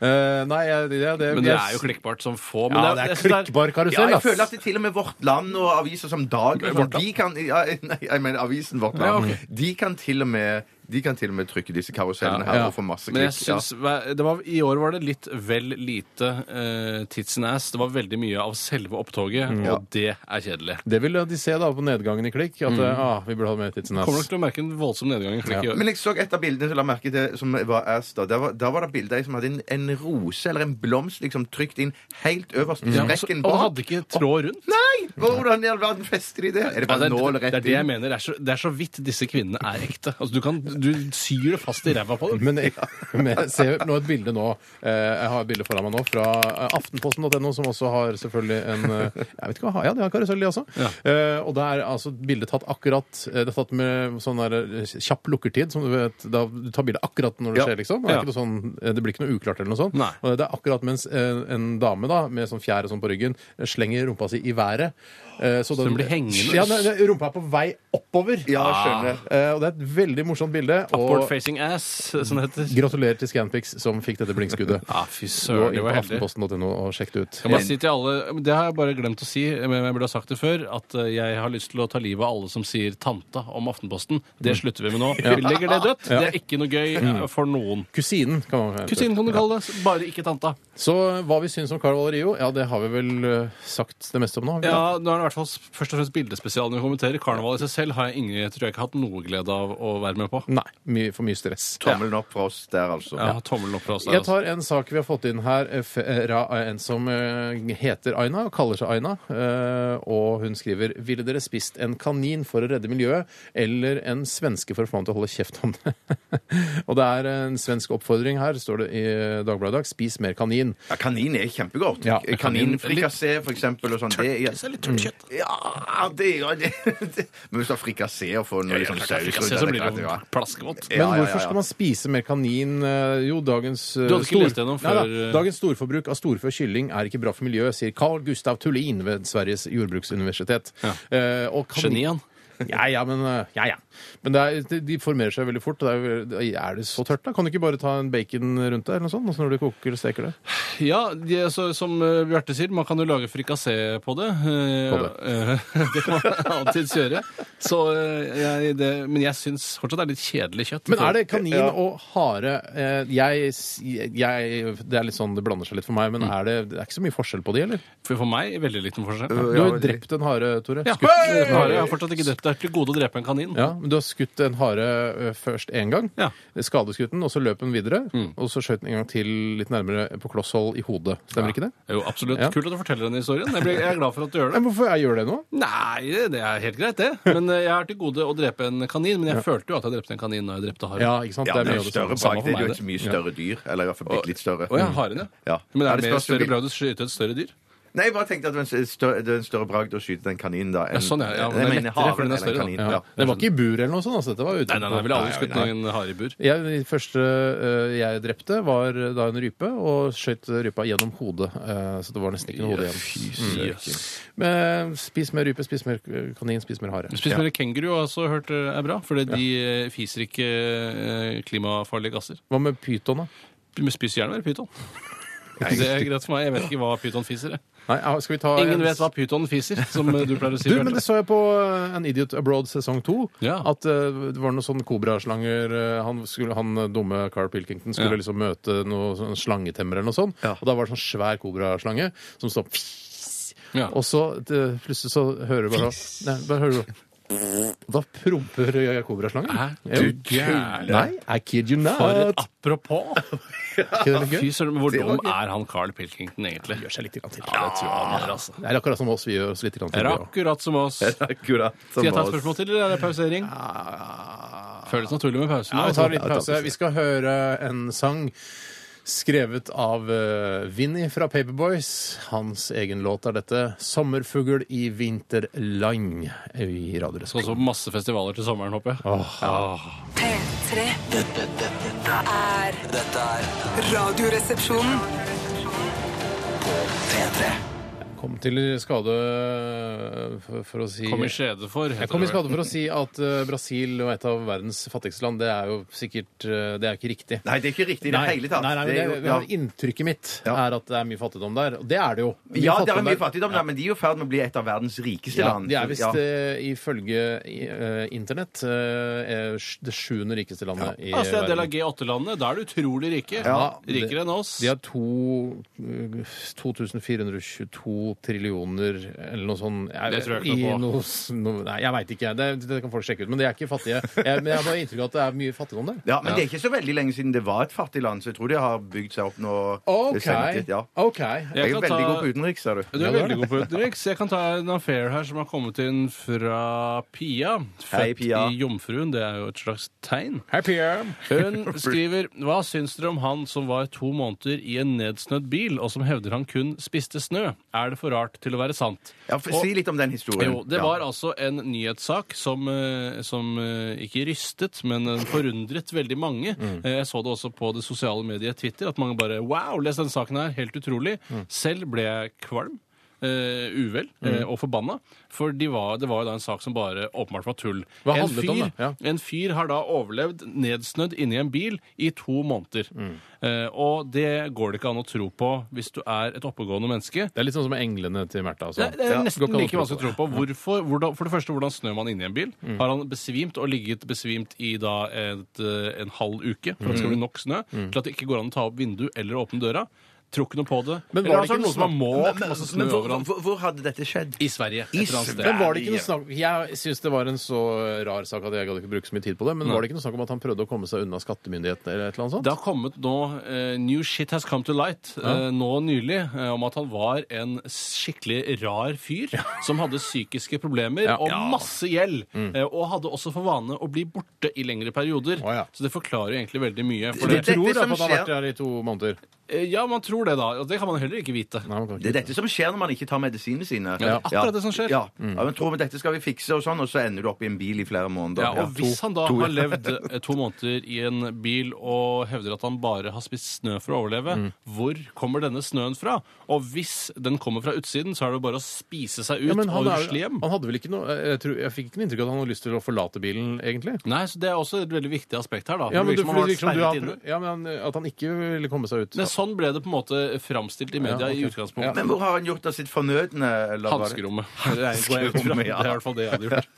S4: Eh, nei, jeg- ja, det
S5: Men det er jo klikkbart som få. Men
S4: Ja, det er
S5: jeg synes
S4: klikkbar
S6: Ja,
S4: karusell,
S6: jeg
S4: ass.
S6: føler at det til og med Vårt Land og aviser som Dag og sånn, de kan, ja, Nei, jeg mener avisen Vårt Land. De kan til og med de kan til og med trykke disse karusellene her
S5: Ja.
S6: og få masse
S5: Men jeg
S6: klikk. Ja.
S5: synes, hver- det var, I år var det litt vel lite eh, tits and ass. Det var veldig mye av selve opptoget, og det er kjedelig.
S4: Det vil de se da på nedgangen i klikk. At eh, ah, vi burde ha mer tids enn
S5: Kommer nok
S4: ass.
S5: til å merke en voldsom nedgang i klikk i år.
S6: Men jeg så et av bildene som la merke til Som var ass da. Der var, der var det bilde av ei som hadde en, en rose eller en blomst liksom trykt inn helt øverst i
S5: Ja, og så-
S6: sprekken
S5: og
S6: bak.
S5: det hadde ikke tråd rundt.
S6: Nei! Hvordan i all verden fester de det? Er det
S5: Ja,
S6: bare
S5: det,
S6: nål
S5: er, det
S6: rett
S5: er det jeg mener. Det er så, det er så vidt disse kvinnene er ekte. Altså, du, kan, du syr det fast i ræva på dem.
S4: Men jeg, (laughs) men jeg ser nå et bilde nå eh, Jeg har et bilde foran meg nå fra eh, aftenposten.no, som også har selvfølgelig en eh, Jeg vet ikke hva, ja, de har karusell, de også. Eh, og det er altså bildet tatt akkurat eh, Det er tatt med sånn der eh, kjapp lukkertid, som du vet da Du tar bildet akkurat når det
S5: Ja.
S4: skjer, liksom. Det, er
S5: Ja.
S4: ikke noe sånn, eh, det blir ikke noe uklart eller noe sånt.
S5: Nei.
S4: Og det er akkurat mens eh, en dame da, med sånn fjær og sånn på ryggen eh, slenger rumpa si i været. eh, så
S5: den blir hengende?
S4: Ja, nei, nei, rumpa er på vei oppover.
S6: Ja, skjønner.
S4: Eh, og det er et veldig morsomt bilde.
S5: Upward
S4: Og
S5: facing ass, som det heter.
S4: Gratulerer til Scanpix som fikk dette blinkskuddet.
S5: (laughs) Ja, Ah, fy
S4: Gå
S5: søren,
S4: inn
S5: det
S4: på
S5: var heldig.
S4: aftenposten.no og sjekk det ut.
S5: Kan bare si til alle, Det har jeg bare glemt å si, men jeg burde ha sagt det før. At eh, jeg har lyst til å ta livet av alle som sier 'tanta' om Aftenposten. Det slutter vi med nå. Vi legger det dødt. Det er ikke noe gøy eh, for noen.
S4: Kusinen, kan man
S5: Kusinen kan du kalle det, bare ikke tanta.
S4: Så hva vi syns om Carl Valerio, ja, det har vi vel eh, sagt det meste om nå. har vi ikke
S5: Ja, Nå er det i hvert fall først og fremst bildespesialen vi kommenterer. Karneval i seg selv har jeg ingen, tror jeg ikke har hatt noe glede av å være med på.
S4: det? Nei. Mye, for mye stress.
S6: Tommelen opp fra oss der, altså.
S5: Ja, tommelen opp fra oss der.
S4: Jeg
S5: altså.
S4: tar en sak vi har fått inn her eh, fra en som eh, heter Aina, og kaller seg Aina. eh, Og hun skriver Ville dere spist en kanin for å redde miljøet, eller en svenske for å få ham til å holde kjeft om det? (laughs) og det er en svensk oppfordring her, står det i eh, Dagbladet i dag. Spis mer kanin.
S6: Ja, kanin er kjempegodt.
S4: Ja,
S6: Kaninfrikassé, for eksempel, og sånn. Det
S5: altså-
S6: er litt tørt kjøtt. Ja, det er (laughs) det. det. Men hvis du har frikassé og får noe liksom saus
S5: Frikassé,
S6: rundt,
S5: så
S6: det
S5: blir
S6: er
S5: det jo
S6: klart,
S5: plaskevått.
S6: ja.
S4: Men
S6: Ja, ja,
S4: hvorfor
S6: ja,
S4: skal
S6: ja.
S4: man spise mer kanin? Eh, Jo, dagens eh,
S5: Du hadde ikke lest gjennom
S4: Nei da,
S5: før- eh.
S4: Dagens storforbruk av storfe og kylling er ikke bra for miljøet, sier Carl Gustav Tullin ved Sveriges jordbruksuniversitet. Eh, og kanin-
S5: Geniet han.
S4: (laughs) Ja, ja, men, eh, ja, ja. men det er, de- de formerer seg veldig fort. og Det er, jo- er det så tørt, da? Kan du ikke bare ta en bacon rundt det, eller noe sånt, altså når du koker eller steker det?
S5: Ja, de, er så, som eh, Bjarte sier, man kan jo lage frikassé på det. Eh,
S4: På det.
S5: eh, (laughs) det kan man alltids gjøre. Så, eh, jeg, det, men jeg syns fortsatt det er litt kjedelig kjøtt.
S4: Men er
S5: (laughs)
S4: det kanin og hare eh, jeg, jeg, Det er litt sånn, det blander seg litt for meg,
S5: Mm.
S4: men er det, det er ikke så mye forskjell på de, eller?
S5: For, for meg veldig liten forskjell.
S4: Du har drept en hare, Tore.
S5: Ja,
S4: Øh, Skutt-
S5: jeg har fortsatt ikke drept. Det er til gode å drepe en kanin.
S4: Ja, men du har skutt en hare ø, først én gang.
S5: Ja. Mm.
S4: Skadeskutt den, og så løp den videre. Og så skjøt den en gang til litt nærmere på kloss hold i hodet. Stemmer ikke det?
S5: Jo, absolutt.
S4: Ja.
S5: Kult at du forteller den historien. Jeg, blir, jeg er glad for at du gjør det.
S4: Men hvorfor jeg gjør det nå?
S5: Nei, det er helt greit, det. Men eh, jeg har til gode å drepe en kanin. Men jeg følte jo at jeg drepte en kanin når jeg drepte haren.
S4: Ja, ikke sant?
S6: Ja,
S4: det er mye av det
S6: større
S4: samme.
S5: Samme
S6: bak. Det
S5: for
S6: er
S5: meg,
S6: jo
S5: det.
S6: et mye større dyr. Eller i hvert fall bitte litt større.
S5: Å ja, haren, ja.
S6: Ja.
S5: Men det
S6: Ja,
S5: er,
S6: det
S5: mer
S6: spørs jo
S5: større
S6: hvil-
S5: bragd å skyte et større dyr.
S6: Nei, jeg bare tenkte at det er en større, det er en større bragd å skyte den kaninen da. enn-
S5: Ja, sånn, ja. Ja, men det er
S6: Jeg mener
S5: lettere, for
S6: haren
S5: den er
S6: eller
S5: større, da.
S6: kaninen,
S4: Ja.
S6: ja. (laughs)
S4: Det var ikke i bur eller noe sånt? Altså. Dette var ute.
S5: Nei, nei, nei, jeg ville aldri
S4: Nei,
S5: skutt
S4: nei, nei.
S5: noen hare i bur.
S4: Jeg, det første ø, jeg drepte, var eh, da en rype, og skjøt rypa gjennom hodet. ø, så det var nesten ikke noe hode igjen. Mm.
S5: Jøss.
S4: Men eh, spis mer rype, spis mer kanin, spis mer hare.
S5: Spis mer kenguru har jeg også hørt eh, er bra, for de eh, fiser ikke eh, klimafarlige gasser.
S4: Hva med pyton, da?
S5: Men spis gjerne mer pyton. Det er greit for meg. Jeg vet ikke hva pyton fiser. jeg.
S4: Nei, skal vi ta
S5: Ingen vet hva pyton fiser, som eh, du pleier å si.
S4: Du,
S5: Bjarte.
S4: men det så jeg på eh, An Idiot Abroad sesong to.
S5: Ja.
S4: At eh, det var noen sånne kobraslanger eh, han, skulle, han eh, dumme Carl Pilkington skulle
S5: Ja.
S4: liksom møte noe sånn slangetemmer eller noe sånt. Og da var det sånn svær kobraslange som sånn
S5: Ja.
S4: Og så eh, plutselig så hører du bare Nei, bare hører du Da promper kobraslanger.
S5: Du gæren.
S4: Nei, I kid you not.
S5: For et apropos.
S4: Er ikke det litt gøy?
S5: Fy søren, men hvor dum er han Carl Pilkington egentlig?
S4: Gjør seg litt grann til.
S5: Ja, det tror jeg han er, altså.
S4: Det er akkurat som oss. Vi gjør oss litt grann til.
S5: Er akkurat som oss. Skal
S6: Akkurat som
S5: jeg ta et
S6: oss.
S5: spørsmål til, eller er det pausering? Føles naturlig med pause.
S4: Ja, vi
S5: nå.
S4: tar en liten pause. Vi skal høre en sang skrevet av eh, Vinny fra Paperboys. Hans egen låt er dette 'Sommerfugl i vinterland' i
S5: Skal
S4: Radioresepsjonen.
S5: også på Sånn masse festivaler til sommeren, håper jeg.
S7: P3
S2: Dette, dette,
S7: er
S2: dette er
S7: Radioresepsjonen.
S2: P3.
S4: Kom til skade eh, for, for å si
S5: Kom i skjede for. heter
S4: Jeg kom i
S5: det vel.
S4: skade for å si at eh, Brasil var et av verdens fattigste land. Det er jo sikkert eh, Det er ikke riktig.
S6: Nei, det er ikke riktig i det
S4: Nei,
S6: hele tatt.
S4: nei, nei, men
S6: Det er
S4: det,
S6: jo- ja.
S4: Inntrykket mitt
S6: Ja.
S4: er at det er mye fattigdom der. Og det er det jo. Mye
S6: Ja, det er
S4: fattigdom
S6: mye
S4: der.
S6: fattigdom der, men de er jo i ferd med å bli et av verdens rikeste
S4: Ja,
S6: land.
S4: de er visst
S6: Ja.
S4: eh, ifølge eh, internett eh, er sj- det sjuende rikeste landet i
S5: Altså, det er en del av
S4: verden.
S5: G8-landene. Da er det utrolig rike. Rikere enn oss.
S4: De har to, eh, 2422 trillioner eller noe sånt. Jeg,
S5: Det tror jeg ikke
S4: i
S5: noe på.
S4: noe s- noe- nei, jeg veit ikke. Det, det kan folk sjekke ut. Men de er ikke fattige. Jeg, men jeg har bare inntrykk av at det er mye fattigdom der.
S6: Ja, men det er ikke så veldig lenge siden det var et fattig land, så jeg tror de har bygd seg opp nå.
S4: OK.
S6: senere tid, Ja.
S4: ok.
S6: Jeg er jo
S5: kan
S6: veldig
S5: ta-
S6: god på utenriks, ser du.
S5: Du er veldig god på utenriks. Jeg kan ta en affair her som har kommet inn fra Pia. Født
S6: Hei, Pia.
S5: i Jomfruen. Det er jo et slags tegn.
S4: Hei, Pierre.
S5: Hun skriver Hva syns dere om han som var to måneder i en nedsnødd bil, og som hevder han kun spiste snø? Er det for rart til å være sant?
S6: Ja, for,
S5: Og-
S6: si litt om den historien.
S5: Jo, det
S6: Ja.
S5: var altså en nyhetssak som, eh, som eh, ikke rystet, men eh, forundret veldig mange.
S4: Mm.
S5: Eh, Jeg så det også på det sosiale mediet Twitter, at mange bare Wow, les den saken her! Helt utrolig.
S4: Mm.
S5: Selv ble jeg kvalm. eh, uvel eh,
S4: Mm.
S5: og forbanna. For de var, det var jo da en sak som bare åpenbart var tull.
S4: Hva
S5: en,
S4: handlet det om,
S5: fyr,
S4: da? Ja.
S5: en fyr har da overlevd nedsnødd inni en bil i to måneder.
S4: Mm.
S5: Eh, og det går det ikke an å tro på hvis du er et oppegående menneske.
S4: Det er litt sånn som englene til Märtha. altså.
S5: Det, det er
S4: Ja, går
S5: nesten
S4: ikke an å tro på
S5: like vanskelig å tro på. Hvorfor, hvordan, for det første, hvordan snør man inni en bil? Har han besvimt og ligget besvimt i da et, eh, en halv uke for at det skal bli nok snø til at det ikke går an å ta opp vindu eller åpne døra? Tror ikke noe på det.
S4: Men
S5: eller
S4: var
S5: er
S4: det ikke
S5: det noen som har målt
S6: Men,
S5: masse snø
S6: hvor,
S5: over han?
S6: hvor, hvor hadde dette skjedd?
S5: I Sverige. Et eller annet sted.
S4: Men var det ikke noe snakk Jeg syns det var en så rar sak at jeg gadd ikke bruke så mye tid på det, men var det ikke noe snakk om at han prøvde å komme seg unna skattemyndighetene eller et eller annet sånt?
S5: Det har kommet nå eh, New shit has come to light eh, nå nylig eh, om at han var en skikkelig rar fyr (laughs) som hadde psykiske problemer
S4: Ja.
S5: og
S4: Ja. Mm.
S5: masse gjeld. eh, og hadde også for vane å bli borte i lengre perioder.
S4: Å, ja.
S5: Så det forklarer jo egentlig veldig mye. For
S4: Du
S5: det,
S6: Det-
S4: tror
S6: det
S4: da
S6: som
S4: på at han har vært
S6: skjer-
S4: der i to måneder?
S5: eh, ja, man tror det, da. Og det kan man heller ikke vite.
S4: Nei, man kan
S6: Det
S4: ikke.
S6: er dette som skjer når man ikke tar medisinene sine.
S5: det er akkurat det som skjer. Mm.
S6: Ja. ja, men tror vi dette skal vi fikse, og sånn, og så ender du opp i en bil i flere måneder.
S5: Ja, og hvis han da har levd eh, to måneder i en bil og hevder at han bare har spist snø for å overleve,
S4: Mm.
S5: hvor kommer denne snøen fra? Og hvis den kommer fra utsiden, så er det jo bare å spise seg ut
S4: Ja, men han,
S5: og
S4: er,
S5: rusle hjem.
S4: han hadde vel ikke noe jeg, tror, jeg fikk ikke noe inntrykk av at han hadde lyst til å forlate bilen, egentlig.
S5: Nei, så Det er også et veldig viktig aspekt her. da.
S4: Ja, men,
S5: Det
S4: du,
S5: virker som
S4: fordi det virker
S5: han har vært
S4: som du har
S5: sperret inne.
S4: prøvd- ja, men han- At han ikke ville komme seg ut.
S5: Men Sånn ble det på en måte framstilt i media
S4: Ja, ok.
S5: i utgangspunktet.
S6: Men hvor har han gjort av sitt fornødne? eller var det-
S5: Hanskerommet. Det er går jeg ut fra.
S6: Hanskerommet,
S5: Det
S6: ja.
S5: er i hvert fall det jeg hadde gjort.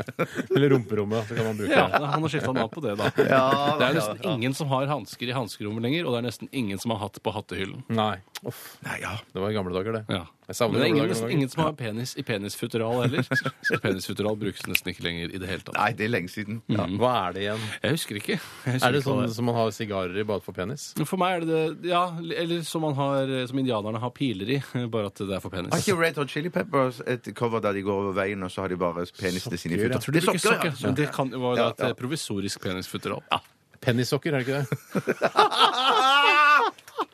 S4: Eller rumperommet. Så kan man bruke
S5: (laughs) Ja,
S4: det.
S5: Han har skifta navn på det, da.
S6: Ja,
S5: Det er
S6: ja,
S5: nesten ingen som har hansker i hanskerommet lenger, og det er nesten ingen som har hatt på hattehyllen.
S4: Nei. Uff.
S6: Nei, ja.
S4: Det var i gamle dager, det.
S5: Ja.
S4: Jeg
S5: Men
S4: savner
S5: det er ingen,
S4: gamle
S5: nesten
S4: dager.
S5: ingen som har penis i penisfutteral heller. Så Penisfutteral brukes nesten ikke lenger i det hele tatt.
S6: Nei, det er lenge siden.
S5: Mm.
S6: Ja.
S4: Hva er det igjen?
S5: Jeg husker ikke. Jeg husker
S4: Er det
S5: ikke hva
S4: sånn som man har sigarer i bare for penis?
S5: er. For meg er det det Ja, eller som, man har, som indianerne har piler i, (laughs) bare at det er for penis.
S6: Har ikke Red Hot Chili Peppers et cover der de går over veien, og så har de bare penisene sine i
S4: Sokker, ja.
S6: futter?
S5: Jeg tror de
S6: Det er
S5: bruker sokker. Men det kan, var jo da
S6: Ja, ja.
S5: et provisorisk penisfutteral.
S4: Pennissokker, er det ikke det?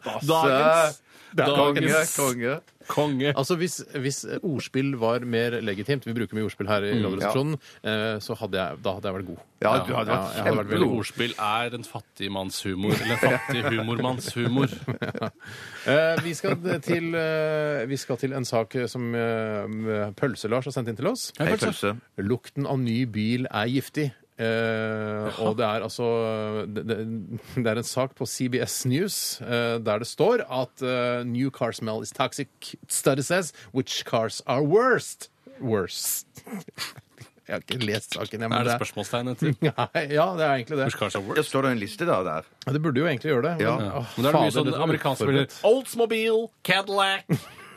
S5: Dagens
S6: Konge,
S5: Dagens
S6: konge.
S5: konge.
S4: Altså hvis, hvis ordspill var mer legitimt, vi bruker mye ordspill her i Radioresepsjonen, eh, så hadde jeg, da hadde jeg vært god.
S6: Mm, Ja, du hadde
S4: Ja, jeg hadde vært
S6: vært
S5: Vel,
S4: veldig
S6: kjempegod.
S4: god.
S5: ordspill er en fattigmannshumor. Eller en fattig
S6: (laughs)
S5: humormannshumor.
S4: Eh, vi, skal til, eh, vi skal til en sak som eh, Pølse-Lars har sendt inn til oss.
S6: Hei, pølse.
S4: Lukten av ny bil er giftig. Eh, og det er altså det, det, det er en sak på CBS News eh, der det står at eh, new car smell is toxic. Study says which cars are worst. Worst. (laughs) Jeg har ikke lest saken. Jeg, men
S5: Er det spørsmålstegn etter?
S4: Nei, ja, det er egentlig det.
S5: Kanskje
S6: Ja,
S5: Word?
S6: står det en liste da, der?
S4: Ja, Det sånn burde jo egentlig gjøre det.
S6: Ja.
S5: Men da er det mye sånn amerikansk spiller. Oldsmobile, Cadillac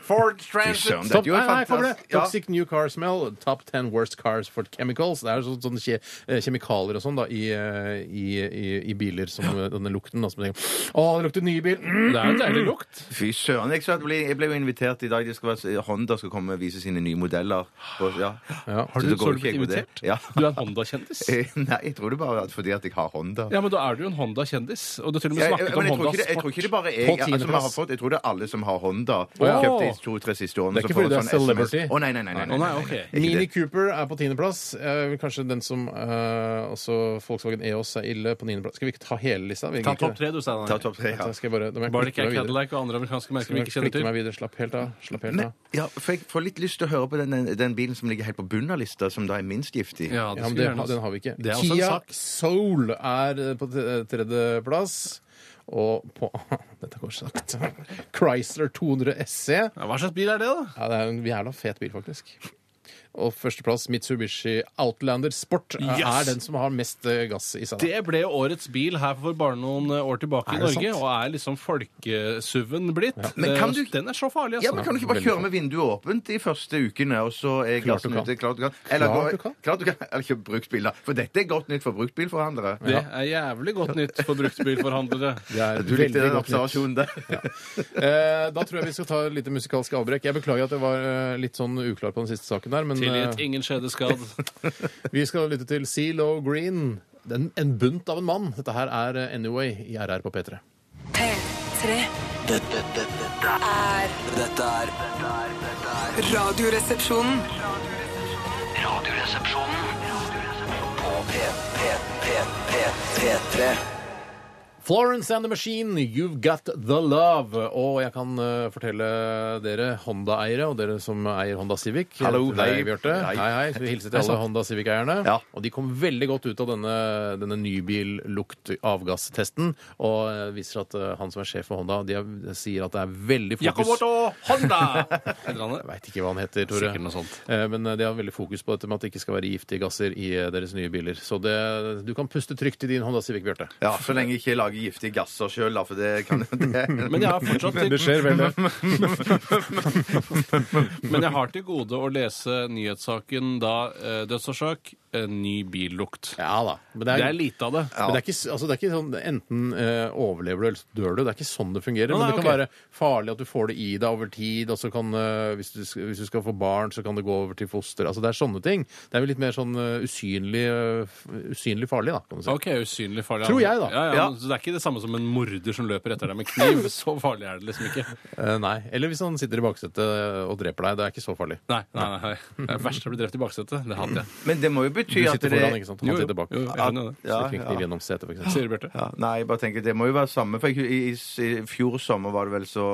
S10: Ford
S6: (laughs) Fy søren,
S10: Transit.
S6: dette er
S4: Topp,
S6: jo
S4: nei, nei, kommer det.
S6: fantastisk. Ja.
S4: Toxic new car smell, top 10 worst cars for chemicals. Det er sånn, sånn kje, eh, kjemikalier og sånn da, i, eh, i, i, i biler som eh, denne lukten. Da, som tenker, Å, det lukter ny bil! Mm.
S5: Det er jo deilig lukt.
S6: Fy søren. Jeg, så at jeg ble, jeg ble jo invitert i dag. De skal være, Honda skal komme og vise sine nye modeller. Og, ja.
S4: Har
S6: Så
S4: du
S6: det går
S5: så du
S6: ikke, jeg,
S5: blitt
S6: med det.
S5: invitert?
S6: Ja. Eh,
S5: Du er en Honda-kjendis.
S6: (laughs) Nei, jeg tror det bare at fordi at jeg har Honda.
S5: Ja, men da er du jo en Honda-kjendis. Og du har til og med
S6: Jeg,
S5: snakket
S6: men jeg,
S5: om
S6: tror ikke det, jeg tror
S5: Honda-sport.
S6: ikke det bare
S4: På
S6: jeg, altså, vi har
S4: tiendeplass.
S6: fått, jeg tror det er alle som har Honda.
S4: ja.
S6: Kjøpt de to-tre siste
S4: Det
S6: årene.
S4: er
S6: så
S4: ikke
S6: får
S4: fordi du
S6: jeg
S4: er
S6: sånn SMS.
S4: celebrity.
S6: Å, nei, nei, nei. nei,
S5: Å nei,
S6: nei,
S5: ok.
S6: nei. (clears throat) Ikke
S4: Mini
S6: det.
S4: Cooper er på tiendeplass. Eh, Kanskje den som eh, også Volkswagen EOS er ille på niendeplass. Skal vi ikke ta hele lista? Vi
S5: Ta
S4: gidder ikke
S5: topp
S4: det.
S5: tre, du, Steinar.
S6: Ta topp tre, ja.
S4: Da Skal jeg bare, da må jeg
S5: Bare det
S4: klikke
S5: ikke
S4: meg
S5: er
S4: videre.
S5: Cadillac og andre amerikanske merker
S4: Skal
S5: vi
S4: jeg
S5: ikke kjenner
S4: klikke
S5: til.
S4: meg videre. Slapp helt av. Slapp helt
S6: Men,
S4: av.
S6: ja, for jeg får litt lyst til å høre på den, den, den bilen som ligger helt på bunnen av lista, som da er minst giftig.
S5: Ja, det
S4: Ja, men
S5: skulle
S4: det,
S5: gjerne-
S4: den har vi ikke.
S5: Det er også en
S4: Kia
S5: sak.
S4: Soul er eh, på t- tredjeplass. Og på (laughs) Dette går sakte. (laughs) Chrysler 200 SE.
S5: Ja, hva slags bil er det, da?
S4: Ja, det er en jævla fet bil, faktisk. Og førsteplass Mitsubishi Outlander Sport eh,
S5: Yes!
S4: er den som har mest eh, gass i seg. da.
S5: Det ble jo årets bil her for bare noen eh, år tilbake
S4: Er
S5: i
S4: det
S5: Norge,
S4: sant?
S5: og er liksom folkesuven blitt. Eh,
S6: Men kan du-
S5: Den er så farlig, altså.
S6: Ja, men Kan du ikke bare kjøre med vinduet åpent de første ukene? og så er
S4: Klart du
S6: gassen
S4: kan.
S6: ute? Klart du kan. Eller,
S4: Klart
S6: gå-
S4: du kan.
S6: Klart du kan. Eller kjøp bruktbil, da. For dette er godt nytt for bruktbilforhandlere.
S5: Det er jævlig godt nytt for bruktbilforhandlere.
S4: (laughs) Det er
S6: Du
S4: veldig
S6: likte den
S4: godt nytt.
S6: observasjonen der.
S4: (laughs) Eh, Da tror jeg vi skal ta et lite musikalsk avbrekk. Jeg beklager at jeg var eh, litt sånn uklar på den siste saken der, men
S5: Tilgitt,
S4: eh,
S5: ingen skjedeskadd.
S4: (laughs) vi skal lytte til CeeLo Green. Den, en bunt av en mann. Dette her er eh, Anyway i RR på P3.
S7: P3.
S2: Dette, dette, dette er Dette er dette er- dette er
S7: Radioresepsjonen.
S2: Radioresepsjonen på P, P, P, P, P3.
S4: Florence and the Machine, You've Got The Love. Og jeg kan eh, fortelle dere Honda-eiere, og dere som eier Honda Civic
S6: Hallo,
S4: til deg,
S6: hei.
S4: Bjarte.
S6: Hei.
S4: Hei, hei. Så vi hilser til alle Honda Civic-eierne.
S6: Ja.
S4: Og de kom veldig godt ut av denne, denne nybil-lukt-avgasstesten. Og eh, viser at eh, han som er sjef for Honda, de er- sier at det er veldig fokus
S5: Yakamoto Honda! Heter han det?
S4: jeg veit ikke hva han heter, Tore.
S5: Sikkert noe sånt.
S4: Eh, Men eh, de har veldig fokus på dette med at det ikke skal være giftige gasser i eh, deres nye biler. Så det, du kan puste trygt i din Honda Civic, Bjarte.
S6: (laughs) Ja, Så lenge jeg ikke lager giftige gasser sjøl, da. For det
S4: (laughs)
S6: kan det.
S5: Men jeg har fortsatt til,
S4: skjer vel, det.
S5: men jeg har til gode å lese nyhetssaken da eh, dødsårsak eh, ny billukt.
S4: (laughs) Ja da. Men
S5: Det er lite av det.
S4: Men det er ikke, s- altså det er ikke sånn enten eh, overlever du eller så dør du. Det er ikke sånn det fungerer.
S5: Å,
S4: men
S5: nei,
S4: det kan
S5: ok.
S4: være farlig at du får det i deg over tid. Og så kan, eh, hvis, du, sk- hvis du skal få barn, så kan det gå over til foster. Altså Det er sånne ting. Det er vel litt mer sånn eh, usynlig, eh, f- usynlig farlig, da, kan du si.
S5: Ok, usynlig farlig.
S4: Tror jeg, da.
S5: Ja, ja,
S6: Ja.
S5: men Så det er ikke det samme som en morder som løper etter deg med
S4: (laughs)
S5: kniv. Så farlig er det liksom ikke.
S4: Eh, nei. Eller hvis han sitter i baksetet eh, og dreper deg. Det er ikke så farlig.
S5: Nei, nei, nei. nei. Det er verst å bli drept i baksetet. Det hater jeg.
S6: Men det må jo
S4: Du
S6: bety at
S4: sitter
S6: det
S4: foran, ikke sant? Han sitter bak.
S5: jo, jeg skjønner det.
S6: Ja,
S4: Stikker en
S6: ja.
S4: kniv gjennom setet, for eksempel.
S5: Sier du, Bjarte.
S6: Ja, nei, jeg bare tenker, det må jo være samme. For jeg, i, i, I fjor sommer var det vel så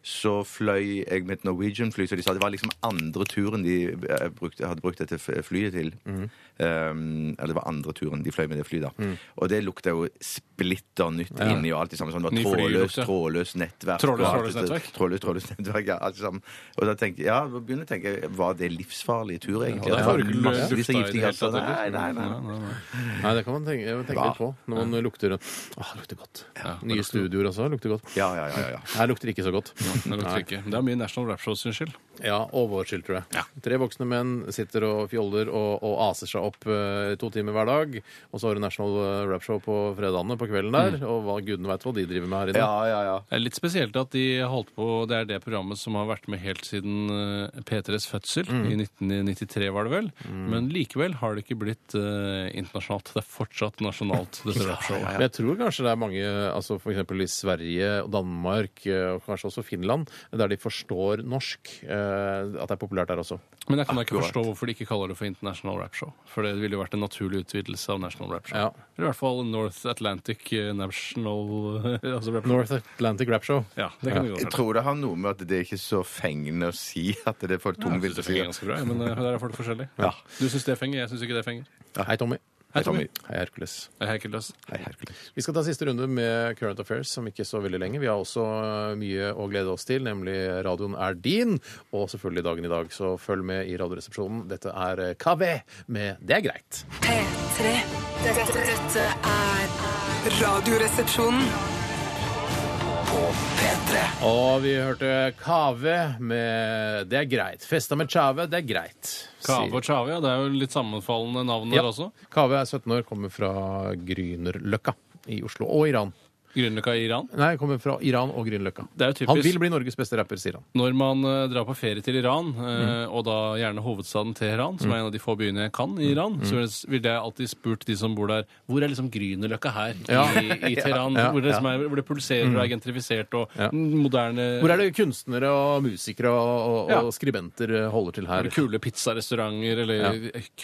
S6: så fløy jeg med et Norwegian-fly, så de sa det var liksom andre turen de eh, brukte, hadde brukt dette f- flyet til.
S5: Mhm.
S6: Um, eller det var andre turen de fløy med det flyet, da. Og det lukta jo splitter nytt inni og alt det samme. Sånn, det
S5: Ny
S6: var trådløst
S5: flylukte.
S6: trådløst nettverk.
S5: Trådløst,
S6: og alt
S5: trådløst
S6: dette-
S5: nettverk.
S6: Trådløst trådløst nettverk, ja, alt sammen. Og da tenkte jeg, ja, da begynner jeg å tenke, var det livsfarlig tur, egentlig?
S5: Ja, det
S6: At
S5: var
S6: det
S5: ikke
S6: var massevis av
S5: lufta i
S6: giftige
S5: det hele
S6: gasser.
S5: tatt,
S6: Nei, nei,
S5: eller?
S6: nei.
S4: Nei, det kan man tenke, tenke litt på når man lukter Åh, det lukter godt. Nye studioer også lukter godt.
S6: Ja, ja, ja, ja, ja.
S4: Her lukter det ikke så godt.
S5: Det lukter ikke. Det er mye National Rap Show sin skyld.
S4: Ja, og vår skyld, tror jeg. Tre voksne menn sitter og fjoller og, og aser seg opp eh, to timer hver dag. Og så har du National eh, Rap Show på fredagene på kvelden der. Og hva gudene veit hva de driver med her inne.
S6: Ja, ja, ja.
S5: Det er litt spesielt at de holdt på Det er det programmet som har vært med helt siden eh, P3s fødsel. I 1993, var det vel. Men likevel har det ikke blitt eh, internasjonalt. Det er fortsatt nasjonalt, dette rapshowet.
S4: Men jeg tror kanskje det er mange, altså for eksempel i Sverige og Danmark eh, og kanskje også Finland, der de forstår norsk. eh, At det er populært der også.
S5: Men jeg kan da ikke
S6: Akkurat.
S5: forstå hvorfor de ikke kaller det for International Rap Show. For det ville jo vært en naturlig utvidelse av National Rap Show.
S4: Ja.
S5: Eller i hvert fall North Atlantic eh, National eh, altså rap
S4: North Atlantic Rap Show.
S5: Ja, det kan du
S6: Jeg
S5: godt
S6: tror det har noe med at det er ikke så fengende å si at det er for tungvint å
S5: Det
S6: si.
S5: fenger ganske bra, ja, men eh, der er folk forskjellige.
S6: Ja.
S5: Du syns det fenger, jeg syns ikke det fenger.
S4: Hei, Tommy.
S5: Hei, Tommy.
S4: Hei, Hercules.
S5: Jeg er helt løs.
S6: Nei, Hercules.
S4: Vi skal ta siste runde med Current Affairs, som ikke er så veldig lenge. Vi har også eh, mye å glede oss til, nemlig radioen er din, og selvfølgelig dagen i dag. Så følg med i Radioresepsjonen. Dette er eh, KV med Det er greit.
S7: P3. Dette, dette er Radioresepsjonen.
S2: P3. på P3.
S4: Og vi hørte Kave med Det er greit. Festa med Chave, det er greit.
S5: Kave og Chave, ja. Det er jo litt sammenfallende navn der også.
S4: Kave er 17 år, kommer fra Grünerløkka i Oslo. Og Iran.
S5: Grünerløkka i Iran.
S4: Nei, kommer fra Iran og Grünerløkka.
S5: Det er jo typisk.
S4: Han vil bli Norges beste rapper, sier han.
S5: Når man eh, drar på ferie til Iran, eh,
S4: Mm.
S5: og da gjerne hovedstaden Teheran, som er en av de få byene jeg kan i
S4: Mm.
S5: Iran, så vil- vil jeg alltid spurt de som bor der, hvor er liksom Grünerløkka her i, i Teheran?
S4: (laughs) Ja, ja,
S5: hvor, det liksom er, hvor det pulserer og er gentrifisert og moderne
S4: Hvor er det kunstnere og musikere og, og,
S5: Ja.
S4: og skribenter holder til her?
S5: kule pizzarestauranter eller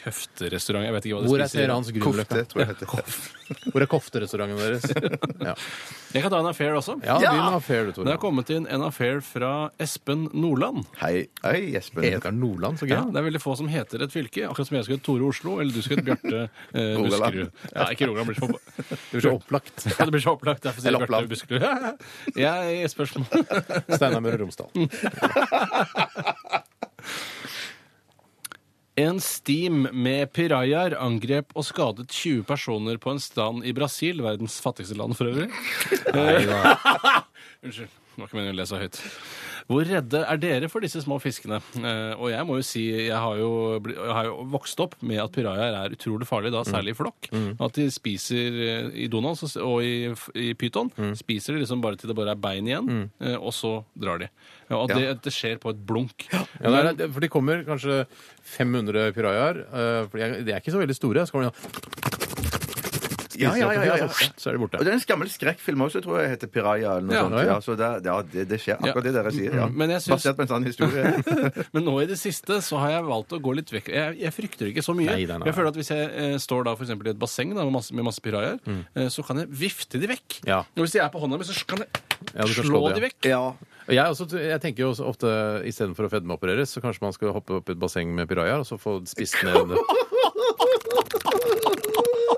S5: køfterestauranter? Jeg vet ikke hva de
S4: Hvor er
S5: spiser.
S4: Teherans
S6: Kofte,
S4: Grünerløkka?
S6: tror jeg det heter.
S4: Hvor er kofterestauranten deres? Ja,
S5: Jeg kan ta en affair også.
S4: ja, begynn av fair, du,
S5: Det er
S4: Tore.
S5: kommet inn en affair fra Espen Nordland.
S6: Hei, hei, Espen.
S4: Heter han Nordland, så gøy.
S5: Ja, det er veldig få som heter et fylke. Akkurat som jeg skal hete Tore Oslo, eller du skal hete Bjarte eh, Buskerud.
S6: Rogaland.
S5: Ja, ikke
S4: (laughs)
S5: Rogaland. Blir for...
S4: Det er så opplagt.
S5: Ja, det blir så opplagt. Derfor sier
S6: Eller
S5: jeg Bjarte Buskerud. (laughs) Jeg er spørsmål.
S4: Steinar Møre og Romsdal.
S5: En steam med pirajaer angrep og skadet 20 personer på en strand i Brasil, verdens fattigste land for
S4: (laughs)
S5: øvrig. Eh, (laughs) Unnskyld. Det var ikke meningen å lese høyt. Hvor redde er dere for disse små fiskene? Eh, og jeg må jo si, jeg har jo, bli- jeg har jo vokst opp med at pirajaer er utrolig farlige,
S4: Mm.
S5: da, særlig i flokk. At de spiser eh, i Donald så- og i, f- i pyton,
S4: Mm.
S5: spiser de liksom bare til det bare er bein igjen, eh, og så drar de. Ja, og at det, at det skjer på et blunk.
S4: Ja, det er, det- for de kommer kanskje 500 pirajaer. eh, For de er, de er ikke så veldig store. Så kommer de sånn
S6: Ja, ja, ja, ja, ja.
S4: Så, så er de borte.
S6: Og det er en gammel skrekkfilm også, tror jeg heter Piraya eller noe
S5: Ja,
S6: sånt.
S4: ja, ja.
S6: Ja, så det, ja, det, det skjer akkurat det dere sier. Ja.
S5: Men jeg synes-
S6: Basert på en sann historie.
S5: (laughs) Men nå i det siste så har jeg valgt å gå litt vekk. Jeg, jeg frykter ikke så mye.
S4: Nei, nei, nei.
S5: Jeg føler at Hvis jeg eh, står da for eksempel i et basseng da, med masse, med masse pirajaer, eh, så kan jeg vifte de vekk.
S4: Mm. Ja.
S5: Og hvis de er på hånda mi, så kan jeg
S4: Ja, du kan
S5: slå
S4: slå de,
S5: de
S4: ja.
S5: vekk.
S6: ja.
S4: Og Jeg, også, jeg tenker jo også ofte istedenfor å fedmeopereres, så kanskje man skal hoppe opp i et basseng med pirajaer og så få spist ned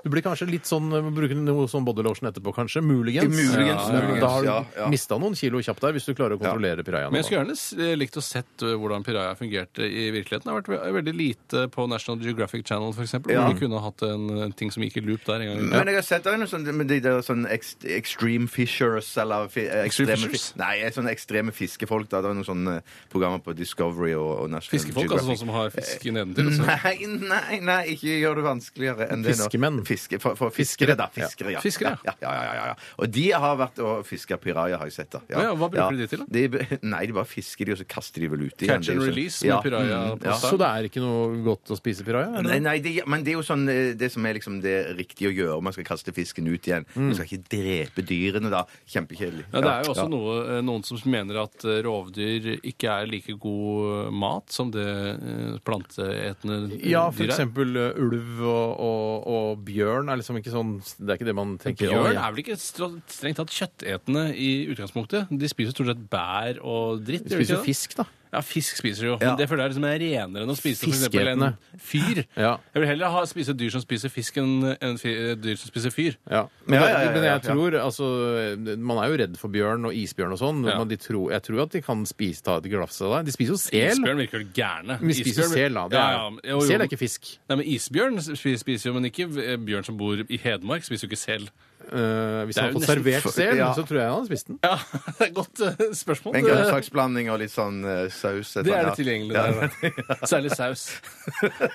S4: Du blir kanskje litt sånn må Bruke noe sånn body lotion etterpå, kanskje. Muligens.
S6: Muligens,
S4: Ja,
S6: muligens,
S4: Da har du
S6: ja, ja.
S4: mista noen kilo kjapt der, hvis du klarer å kontrollere pirajaene.
S5: Men jeg skulle gjerne s- eh, likt å sett eh, hvordan pirajaer fungerte i virkeligheten. Det har vært ve- veldig lite på National Geographic Channel, f.eks. Ja. Hvor de kunne hatt en, en ting som gikk i loop der en
S4: Mm.
S5: gang.
S6: Men jeg har sett det er noe sånt med de der sånn ex- extreme fishers eller fi, eh,
S5: Extreme
S6: ekstreme,
S5: fishers?
S6: fi- Nei, eh, sånne ekstreme fiskefolk. Da. Det er noen sånne programmer på Discovery og, og National
S5: Fiskefolk, altså sånn som har fisk nedentil. altså.
S6: Nei, nei, nei, ikke gjør det vanskeligere enn det nå.
S4: Fiskemenn.
S6: Fiske, for, for fiskere, da. Fiskere, ja.
S5: Fiskere,
S6: ja. Ja, ja, ja, ja, ja. Og de har vært og fiska piraja, har jeg sett. da.
S5: Ja, hva bruker de de til, da?
S6: De b- nei, de bare fisker de, og så kaster de vel ut igjen.
S5: Catch
S6: Det er jo
S5: and
S6: sånn-
S5: release med
S6: Ja.
S5: piraja.
S6: Mm,
S5: på
S6: ja.
S5: stang.
S4: Så det er ikke noe godt å spise piraja?
S6: Nei,
S4: eller?
S6: nei det, men det er jo sånn eh, det som er liksom det riktige å gjøre. Man skal kaste fisken ut igjen. Man skal ikke drepe dyrene, da. Kjempekjedelig.
S5: Mm. Ja, det er jo
S6: Ja.
S5: også noe, eh, noen som mener at eh, rovdyr ikke er like god mat som det eh, planteetende eh,
S4: Ja, for
S5: dyr er.
S4: eksempel ø, ulv og, og, og bjørn er liksom ikke sånn Det er ikke det man tenker.
S5: Bjørn
S4: «Å, ja,
S5: er vel ikke stra- strengt tatt kjøttetende i utgangspunktet? De spiser stort sett bær og dritt.
S4: de
S5: gjør de
S4: Spiser
S5: ikke det?
S4: fisk, da.
S5: Ja, fisk spiser de jo.
S6: Ja.
S5: Men det føler jeg liksom er renere enn å spise for eksempel en
S4: Fiskeetende.
S5: fyr.
S4: Ja.
S5: Jeg vil heller ha, spise dyr som spiser fisk enn enn fi, eh, dyr som spiser fyr.
S4: Ja. Men,
S6: Ja,
S4: det-
S6: ja, ja,
S4: men
S6: ja,
S4: jeg
S6: ja.
S4: tror altså, Man er jo redd for bjørn og isbjørn og sånn.
S5: Ja.
S4: Men de tror, jeg tror at de kan spise, ta et glass av deg. De spiser jo sel.
S5: Isbjørn virker jo gærne.
S4: Men de spiser
S5: Isbjørn-
S4: sel, da. Det er,
S5: Ja, ja. Jo, jo.
S4: Sel er ikke fisk.
S5: Nei, men Isbjørn sp- spiser jo, men ikke eh, bjørn som bor i Hedmark, spiser jo ikke sel.
S4: Eh, hvis
S5: Det er
S4: han
S5: jo
S4: hadde fått
S5: nesten
S4: servert
S6: for-
S4: sel,
S6: ja.
S4: så tror jeg han hadde spist den.
S5: Ja, (laughs) det er et godt eh, spørsmål.
S6: En
S5: Det-
S6: grønnsaksblanding og litt sånn eh, saus. et
S5: det er
S6: eller
S5: det
S6: annet.
S5: tilgjengelige der. (laughs) Særlig saus.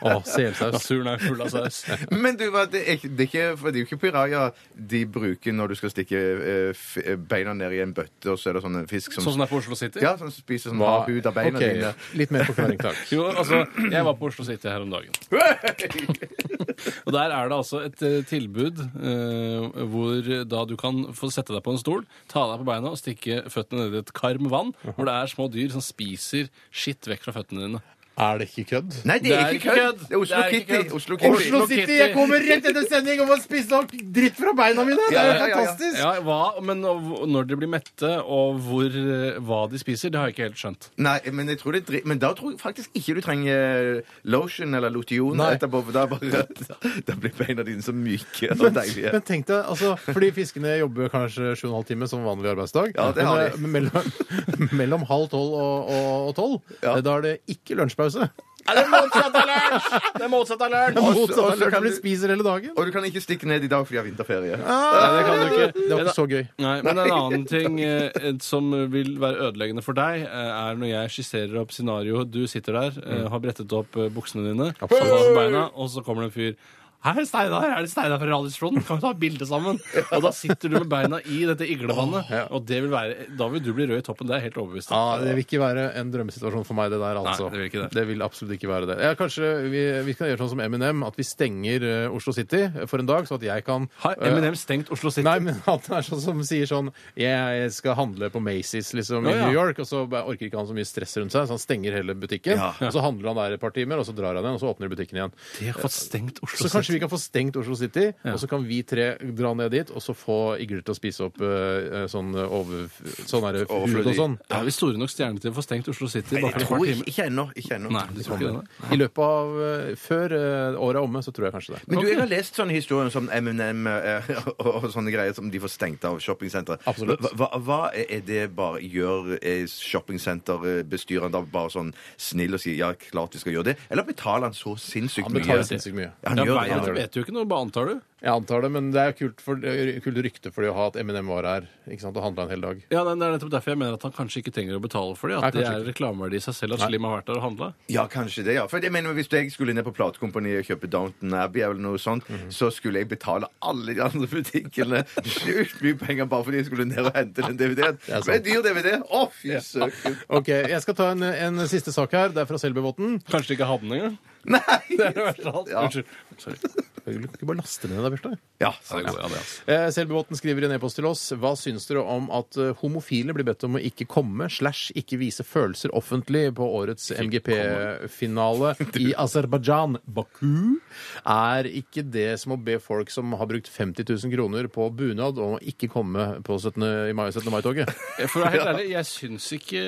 S4: Å, selsaus. (laughs)
S5: Naturen er full av saus.
S6: Men du, hva, det er, ikke- det, er ikke, for det er jo ikke piraja de bruker når du skal stikke eh, f beina ned i en bøtte, og så er det sånn en fisk som
S5: Sånn som det er på Oslo City.
S6: Ja, som spiser sånn
S4: Hva-
S6: hard hud av beina
S4: Ok,
S6: dine.
S4: Litt mer forklaring, takk.
S5: Jo, altså, Jeg var på Oslo City her om dagen. (laughs) Og der er det altså et eh, tilbud eh, hvor da du kan få sette deg på en stol, ta deg på beina og stikke føttene ned i et karm vann, hvor det er små dyr som spiser skitt vekk fra føttene dine.
S4: (laughs) Er det ikke kødd?
S6: Nei, det er ikke kødd! Det er Oslo
S5: Det er ikke
S6: Kitty.
S5: kødd.
S6: Oslo Kitty.
S4: Oslo City! Jeg kommer rett etter sending og må spise opp dritt fra beina mine! Det er jo
S6: Ja, ja, ja, ja.
S4: fantastisk!
S5: Ja, hva, Men og, når de blir mette, og hvor, eh, hva de spiser, det har jeg ikke helt skjønt.
S6: Nei, men, jeg tror det er dri men da tror jeg faktisk ikke du trenger eh, lotion eller lotion
S4: Nei.
S6: etterpå. for Da, bare, (laughs) da blir beina dine så myke og deilige.
S4: Men tenk deg, altså, fordi fiskene jobber kanskje 7,5 timer som vanlig arbeidsdag.
S6: Ja, det
S4: (laughs) Men,
S6: har
S4: eh, Mellom, mellom halv tolv og, og, og tolv.
S6: Ja.
S4: eh, Da er det ikke lunsjpause.
S5: Er det motsatt av lunsj? Det er motsatt av lunsj.
S4: Motsatt av
S6: Også- også
S4: lunsj,
S6: kan
S4: for
S6: du-
S4: du spiser hele dagen. Ah!
S6: Og du kan ikke stikke ned i dag fordi jeg har vinterferie.
S5: Nei, det kan du ikke.
S4: Det var ikke så gøy.
S5: Nei, men en annen ting eh, en som vil være ødeleggende for deg, eh, er når jeg skisserer opp scenarioet. Du sitter der, eh, har brettet opp eh, buksene dine, og har beina, og så kommer det en fyr. Hei, Steinar! Er det Steinar fra Radiosflåten? Kan vi ta et bilde sammen? Og da sitter du med beina i dette iglevannet, og det vil være, da vil du bli rød i toppen. Det er jeg helt overbevist
S4: Ja, Ah, det vil ikke være en drømmesituasjon for meg, det der. altså.
S5: det vil ikke det.
S4: absolutt ikke være det. Ja, kanskje vi, vi kan gjøre sånn som Eminem, at vi stenger eh, Oslo City for en dag, sånn at jeg kan
S5: Har
S4: eh,
S5: Eminem stengt Oslo City?
S4: Nei, men at han er sånn som sier sånn Jeg skal handle på Macy's liksom,
S5: Ja, ja.
S4: i New York, og så bare orker ikke han så mye stress rundt seg, så han stenger hele butikken. Og så handler han der et par timer, og så drar han igjen, og så åpner butikken igjen.
S5: De har fått stengt Oslo
S4: Så
S5: City.
S4: kanskje vi kan få stengt Oslo City, og så kan vi tre dra ned dit, og så få igler til å spise opp eh, sånn over... Sånn er det
S6: Overflødig.
S4: frukt og sånn.
S5: Er vi store nok stjerner til å få stengt Oslo City?
S6: Jeg
S5: Bare for et
S6: tror
S5: par
S6: ikke,
S5: timer?
S6: ikke ennå. Ikke ennå.
S5: Nei, du tror ikke det?
S4: I løpet av eh, Før eh, året er omme, så tror jeg kanskje det.
S6: Men du, jeg har lest sånne historier som M&M eh, (laughs) og, og sånne greier som de får stengt av shoppingsentre.
S4: Absolutt.
S6: Hva, hva, hva er det bare gjør eh, shoppingsenterbestyreren da bare sånn snill og sier ja, klart vi skal gjøre det? Eller betaler han så sinnssykt
S4: Han
S6: mye?
S4: betaler sinnssykt mye.
S6: Ja, han
S5: Ja,
S6: gjør det,
S5: veien,
S6: han
S5: du
S6: gjør det.
S5: vet jo ikke noe, bare antar du?
S4: Jeg antar det, men det er kult, for, kult rykte for det å ha at Eminem var her ikke sant, og handla en hel dag.
S5: Ja, nei, Det er nettopp derfor jeg mener at han kanskje ikke trenger å betale for det. At
S4: Nei,
S5: det
S4: kanskje
S5: er
S4: ikke.
S5: reklameverdi i seg selv at Slim har vært der og handla.
S6: Ja, kanskje det, ja. For jeg mener, Hvis jeg skulle ned på platekompaniet og kjøpe Downton Abbey eller noe sånt, så skulle jeg betale alle de andre butikkene sjukt mye penger bare fordi jeg skulle ned og hente den DVD-en.
S4: sant.
S6: Men dyr DVD! Å, fy søken!
S4: Ok, Jeg skal ta en, en siste sak her. Det er fra Selbøbotn.
S5: Kanskje de ikke hadde den (laughs) engang.
S6: Nei!
S5: Det er det verste av alt.
S6: Ja.
S5: Unnskyld. Sorry.
S4: Kan ikke bare laste ned det bursdag?
S6: Ja,
S5: Ja, det går, ja, det, altså.
S4: Eh, Selbøbotn skriver i en e-post til oss Hva syns dere om at eh, homofile blir bedt om å ikke komme slash ikke vise følelser offentlig på årets MGP-finale i Aserbajdsjan, Baku? Er ikke det som å be folk som har brukt 50 000 kroner på bunad om å ikke komme på 17. i mai- 17. mai-toget?
S5: For å være helt ærlig, jeg syns ikke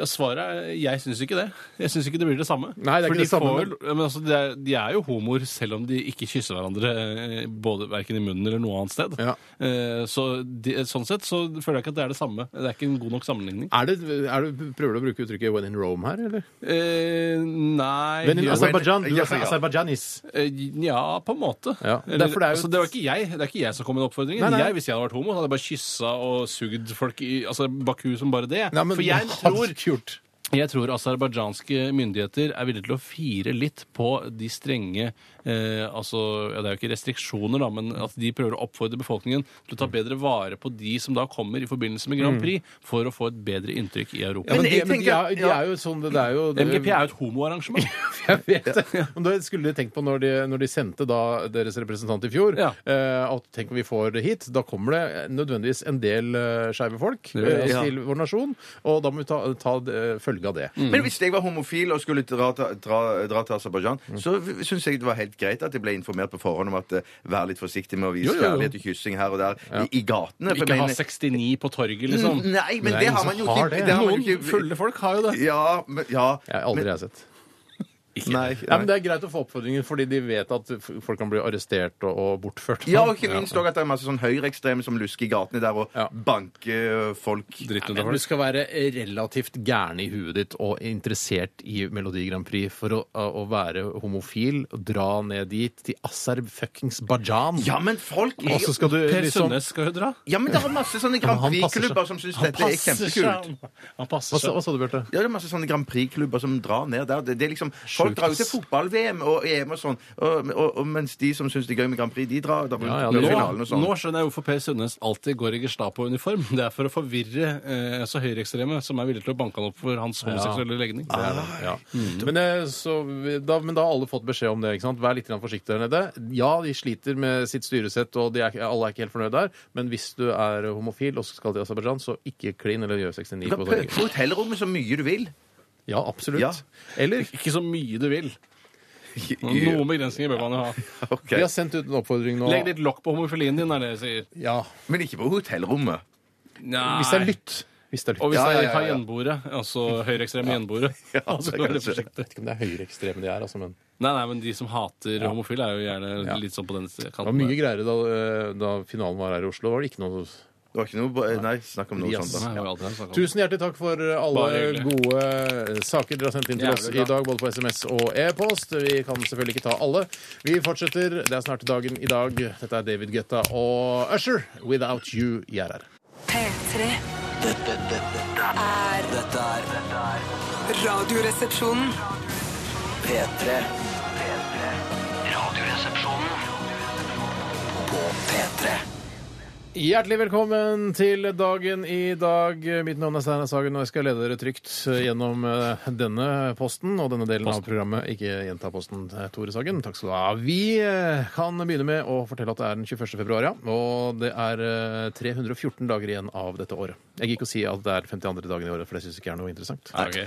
S5: ja, Svaret er jeg syns ikke det. Jeg syns ikke det blir det samme.
S4: Nei, det er
S5: For
S4: ikke
S5: de
S4: det samme,
S5: får- ja, men altså, de, er, de er jo homoer selv om de ikke kysser hverandre eh, både verken i munnen eller noe annet sted.
S4: Ja.
S5: Eh, Så de, sånn sett så føler jeg ikke at det er det samme. Det er ikke en god nok sammenligning.
S4: Er det, er det, prøver du å bruke uttrykket 'when in Rome' her, eller?
S5: Eh, nei
S4: When in
S5: Ja.
S4: Aserbajdsjan. Du
S6: ja,
S4: er fra
S6: ja.
S4: Aserbajdsjanis.
S5: altså, Eh, Ja, på en måte.
S4: Ja.
S5: Eller,
S4: Derfor det er jo-
S5: altså, det, var ikke jeg, det er ikke jeg som kom med oppfordringen.
S4: Nei, nei.
S5: Jeg, hvis jeg hadde vært homo, så hadde jeg bare kyssa og sugd folk i altså, Baku som bare det.
S4: Nei, men
S5: For jeg
S4: det hadde
S5: tror,
S4: ikke gjort.
S5: jeg tror aserbajdsjanske myndigheter er villige til å fire litt på de strenge eh, altså, ja, Det er jo ikke restriksjoner, da, men at de prøver å oppfordre befolkningen til å ta bedre vare på de som da kommer i forbindelse med Grand Prix, for å få et bedre inntrykk i Europa.
S4: Men,
S6: Men
S4: de, men
S6: jeg
S4: de,
S6: tenker-
S4: er, de er jo sånn det, det er jo
S5: MGP er jo et homoarrangement.
S4: (laughs) Jeg (laughs) vet det. Men da skulle de tenkt på når de, når de sendte da deres representant i fjor,
S5: Ja.
S4: eh, at tenk om vi får det hit, da kommer det nødvendigvis en del eh, skeive folk
S5: gjør det,
S4: eh,
S5: ja.
S4: til vår nasjon, og da må vi ta, ta eh, følge av det.
S6: Men hvis jeg var homofil og skulle dra, til- dra, dra til Aserbajdsjan,
S4: Mm.
S6: så syns jeg det var helt greit at jeg ble informert på forhånd om at eh, vær litt forsiktig med å vise
S4: Jo, jo, jo.
S6: kjærlighet og kyssing her og der i, i gatene. for jeg
S5: Ikke ha
S6: mener-
S5: 69 på torget, liksom.
S6: Mm, Nei,
S4: sånn.
S6: men
S4: Nei,
S6: det har
S4: så
S6: man jo
S4: har
S6: ikke.
S4: det.
S6: har man jo
S5: Noen
S6: ikke-
S5: fulle folk har jo det.
S6: Ja, men, ja.
S4: Jeg har aldri
S6: men,
S4: jeg sett.
S6: nei,
S4: Nei,
S6: nei.
S4: men Det er greit å få oppfordringen, fordi de vet at f- folk kan bli arrestert og, og bortført.
S6: Ja, og ikke minst også at det er masse sånn høyreekstreme som lusker i gatene der og
S4: Ja.
S6: banker eh, folk.
S5: Dritt ut av
S4: Men du
S5: folk.
S4: skal være relativt gæren i huet ditt og interessert i Melodi Grand Prix for å, å være homofil og dra ned dit til Aserb fuckings Bajan.
S6: Ja, men folk
S4: Og så skal du
S5: Per
S4: liksom
S5: Sundnes skal jo dra.
S6: Ja, men det er masse sånne Grand
S4: han passer seg.
S6: Prix-klubber som syns dette er kjempekult.
S5: Han
S4: Hva
S5: passer
S4: sa,
S5: seg.
S4: hva sa du, Bjarte?
S6: Ja, det er masse sånne Grand Prix-klubber som drar ned der. Det, det er liksom, folk drar jo til fotball-VM og EM og sånn, og, og, og, mens de som syns det er gøy med Grand Prix, de drar da på
S4: Ja, ja, det er
S6: finalen
S5: Nå,
S6: og sånn.
S5: nå skjønner jeg hvorfor Per Sundnes alltid går i Gestapo-uniform. Det er for å forvirre eh, så høyreekstreme som er villige til å banke han opp for hans homoseksuelle legning.
S4: Ja.
S6: Mm.
S4: Men, eh, så, vi- da, men da har alle fått beskjed om det. ikke sant? Vær litt grann forsiktig der nede. Ja, de sliter med sitt styresett, og de er, ikke- alle er ikke helt fornøyd der. Men hvis du er homofil og skal til Aserbajdsjan, så ikke klin eller gjør 69
S6: Du
S4: på
S6: kan pøke
S4: torget.
S6: på hotellrommet så mye du vil.
S4: Ja, absolutt.
S6: Ja.
S4: Eller
S5: Ikke så mye du vil.
S6: Mm. (laughs)
S5: Noen begrensninger bør man jo ha.
S6: Ok.
S4: vi har sendt ut en oppfordring nå.
S5: Legg litt lokk på homofilien din, er det jeg sier.
S4: Ja.
S6: Men ikke på hotellrommet. (laughs)
S5: Nei.
S4: Hvis det er lytt. Hvis det er lytt.
S5: Og hvis
S4: ja,
S5: det
S6: ja,
S5: er
S6: ja,
S5: har
S6: ja.
S5: gjenboere, altså høyreekstreme gjenboere,
S6: Ja,
S5: altså,
S6: det
S5: vær litt
S6: kanskje.
S5: forsiktig.
S4: jeg vet ikke om det er høyreekstreme de er, altså, men det
S5: Nei, nei, men de som hater homofile, er jo gjerne
S4: Ja.
S5: litt sånn på den
S4: var
S5: kanten.
S4: mye
S5: der.
S4: greiere da, eh, da finalen var her i Oslo. var det ikke noe
S6: Det var ikke noe bo- Nei, snakk om noe
S4: Yes.
S6: sånt. da.
S5: Nei, det var alt jeg snakket om.
S4: Tusen hjertelig takk for eh, alle
S5: Bare hyggelig.
S4: gode eh, saker dere har sendt inn til
S5: Jævlig
S4: oss i
S5: bra.
S4: dag, både på SMS og e-post. Vi kan selvfølgelig ikke ta alle. Vi fortsetter. Det er snart dagen i dag. Dette er David Guetta og Usher, 'Without You'. Jeg er her.
S7: P3.
S2: Dette, dette, dette
S7: er
S2: er Dette er dette er
S7: Radioresepsjonen.
S2: P3. P3. Radioresepsjonen på P3.
S4: Hjertelig velkommen til dagen i dag. Mitt navn er Steinar Sagen, og jeg skal lede dere trygt gjennom eh, denne posten og denne delen av programmet. Ikke gjenta posten, eh, Tore Sagen. Takk skal du ha. Vi eh, kan begynne med å fortelle at det er den 21. februar, ja. Og det er eh, 314 dager igjen av dette året. Jeg gikk og si at det er 52. dagen i året, for det syns jeg ikke er noe interessant.
S5: Ja, ok.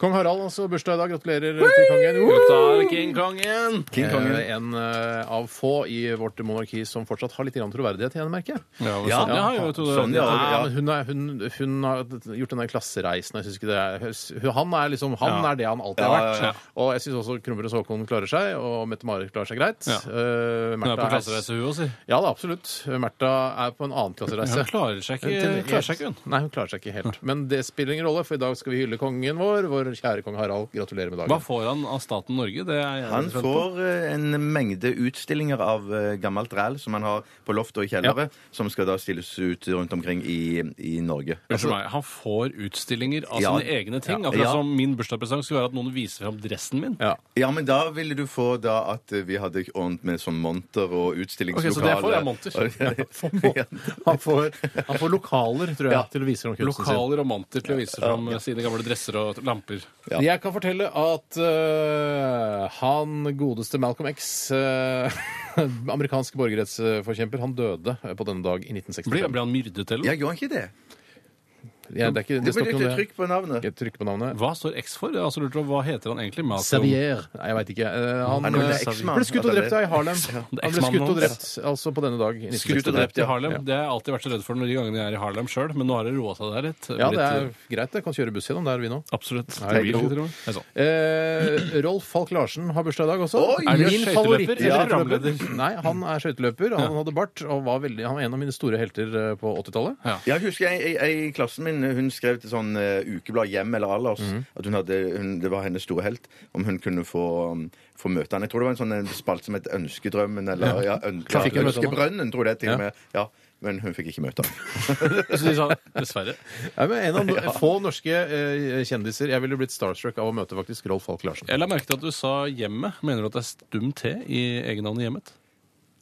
S4: Kong Harald altså bursdag i dag. Gratulerer til kongen. Woo!
S5: Gutta, King Kongen!
S6: King Kongen.
S4: Eh, En eh, av få i vårt monarki som fortsatt har litt grann troverdighet igjen, merker jeg.
S5: Ja, men
S6: Ja.
S5: sånn, ja, jo, jeg tror det.
S6: Sånn, ja.
S4: Ja, men hun, er, hun, hun har gjort den der klassereisen. og Jeg synes ikke det er, hun- han er liksom, han
S5: Ja.
S4: er det han alltid
S6: Ja,
S4: har
S6: ja,
S4: vært.
S5: ja.
S4: Og jeg syns også Krummerud Håkon klarer seg, og Mette-Marit klarer seg greit.
S5: Ja.
S4: Eh,
S5: Hun er på
S4: Märtha
S5: klassereise, hun også. si.
S4: Ja, da, absolutt. Mertha er på en annen klassereise.
S5: Hun klarer seg ikke,
S4: Hun
S5: klarer seg ikke hun.
S4: Nei, hun klarer seg ikke helt. Men det spiller ingen rolle, for i dag skal vi hylle kongen vår, vår kjære kong Harald. Gratulerer med dagen.
S5: Hva får han av staten Norge? Det er jeg
S6: Han
S5: spent på.
S6: får eh, en mengde utstillinger av eh, gammelt ræl som han har på loft og i kjellere, som skal da stilles ut rundt omkring i, i Norge.
S5: Unnskyld meg, Han får utstillinger av
S6: Ja.
S5: sine egne ting. Akkurat
S6: Ja.
S5: som min bursdagspresang skulle være at noen viser fram dressen min.
S4: Ja.
S6: Ja, men da ville du få da at eh, vi hadde ordent med sånn monter og utstillingslokale.
S5: Ok, så det får jeg
S4: (laughs)
S6: (laughs)
S5: monter.
S6: monter.
S4: Han, får, han får lokaler, tror jeg,
S6: Ja.
S4: til å vise fram kunsten sin.
S5: Lokale romanter til å vise fram eh, sine gamle dresser og lamper.
S6: Ja.
S4: Jeg kan fortelle at øh, han godeste Malcolm X, (laughs) øh, amerikansk borgerrettsforkjemper, han døde eh, på denne dag i 1965.
S5: Blir, blir han myrdet, eller?
S6: Jeg gjorde han ikke det.
S4: Ja, det er ikke,
S6: Det
S4: det
S6: ble
S4: står ikke
S6: litt
S4: noe
S6: trykk på navnet.
S4: Jeg trykker på navnet.
S5: Hva står X for? Jeg har altså lurt på, Hva heter han egentlig? Malcolm-
S4: Xavier. Nei, jeg veit ikke. Eh, han
S6: Nei,
S4: øh,
S6: men det er X-Man.
S4: ble skutt og drept ja, i Harlem.
S5: det er
S4: Han ble
S5: X-Man
S4: skutt og
S5: nå.
S4: drept altså på denne dag. i
S5: Skutt og
S4: 1965.
S5: drept i Harlem.
S4: Ja.
S5: Det har jeg alltid vært så redd for når de gangene jeg er i Harlem sjøl, men nå har det roa seg der litt.
S4: Ja,
S5: Blitt,
S4: det er
S5: eh,
S4: greit, det. Kan kjøre buss gjennom der, vi nå.
S5: Absolutt.
S4: Nei,
S5: Det blir
S4: jo.
S5: ikke til og med. Det er sånn.
S4: Eh, Rolf Falk Larsen har bursdag i dag også.
S6: Oi,
S5: Er det
S4: Min
S5: skøyteløper
S4: favoritt-
S5: eller
S4: Ja,
S5: programleder?
S4: skøyteløper. (laughs) Nei, han er skøyteløper. Han hadde bart og var, veldig, han var en av mine store helter eh, på 80-tallet.
S6: Jeg husker jeg, jeg, jeg i klassen min hun skrev til sånn eh, ukeblad Hjem eller Allers
S4: Mhm.
S6: at hun hadde, hun, det var hennes store helt om hun kunne få, um, få møte han. Jeg tror det var en sånn en spalt som het Ønskedrømmen eller ja, øn, ja,
S4: Fikk hun møte han?
S6: Ønskebrønnen, tror jeg det er til
S4: Ja.
S6: og med. Ja, men hun fikk ikke møte han. (laughs)
S5: Så de sa dessverre.
S4: Ja, men en av
S5: (laughs)
S4: no få norske eh, kjendiser jeg ville blitt starstruck av å møte faktisk Rolf Falk Larsen.
S5: Jeg la merke til at du sa 'hjemmet'. Mener du at det er stum T i egennavnet 'Hjemmet'?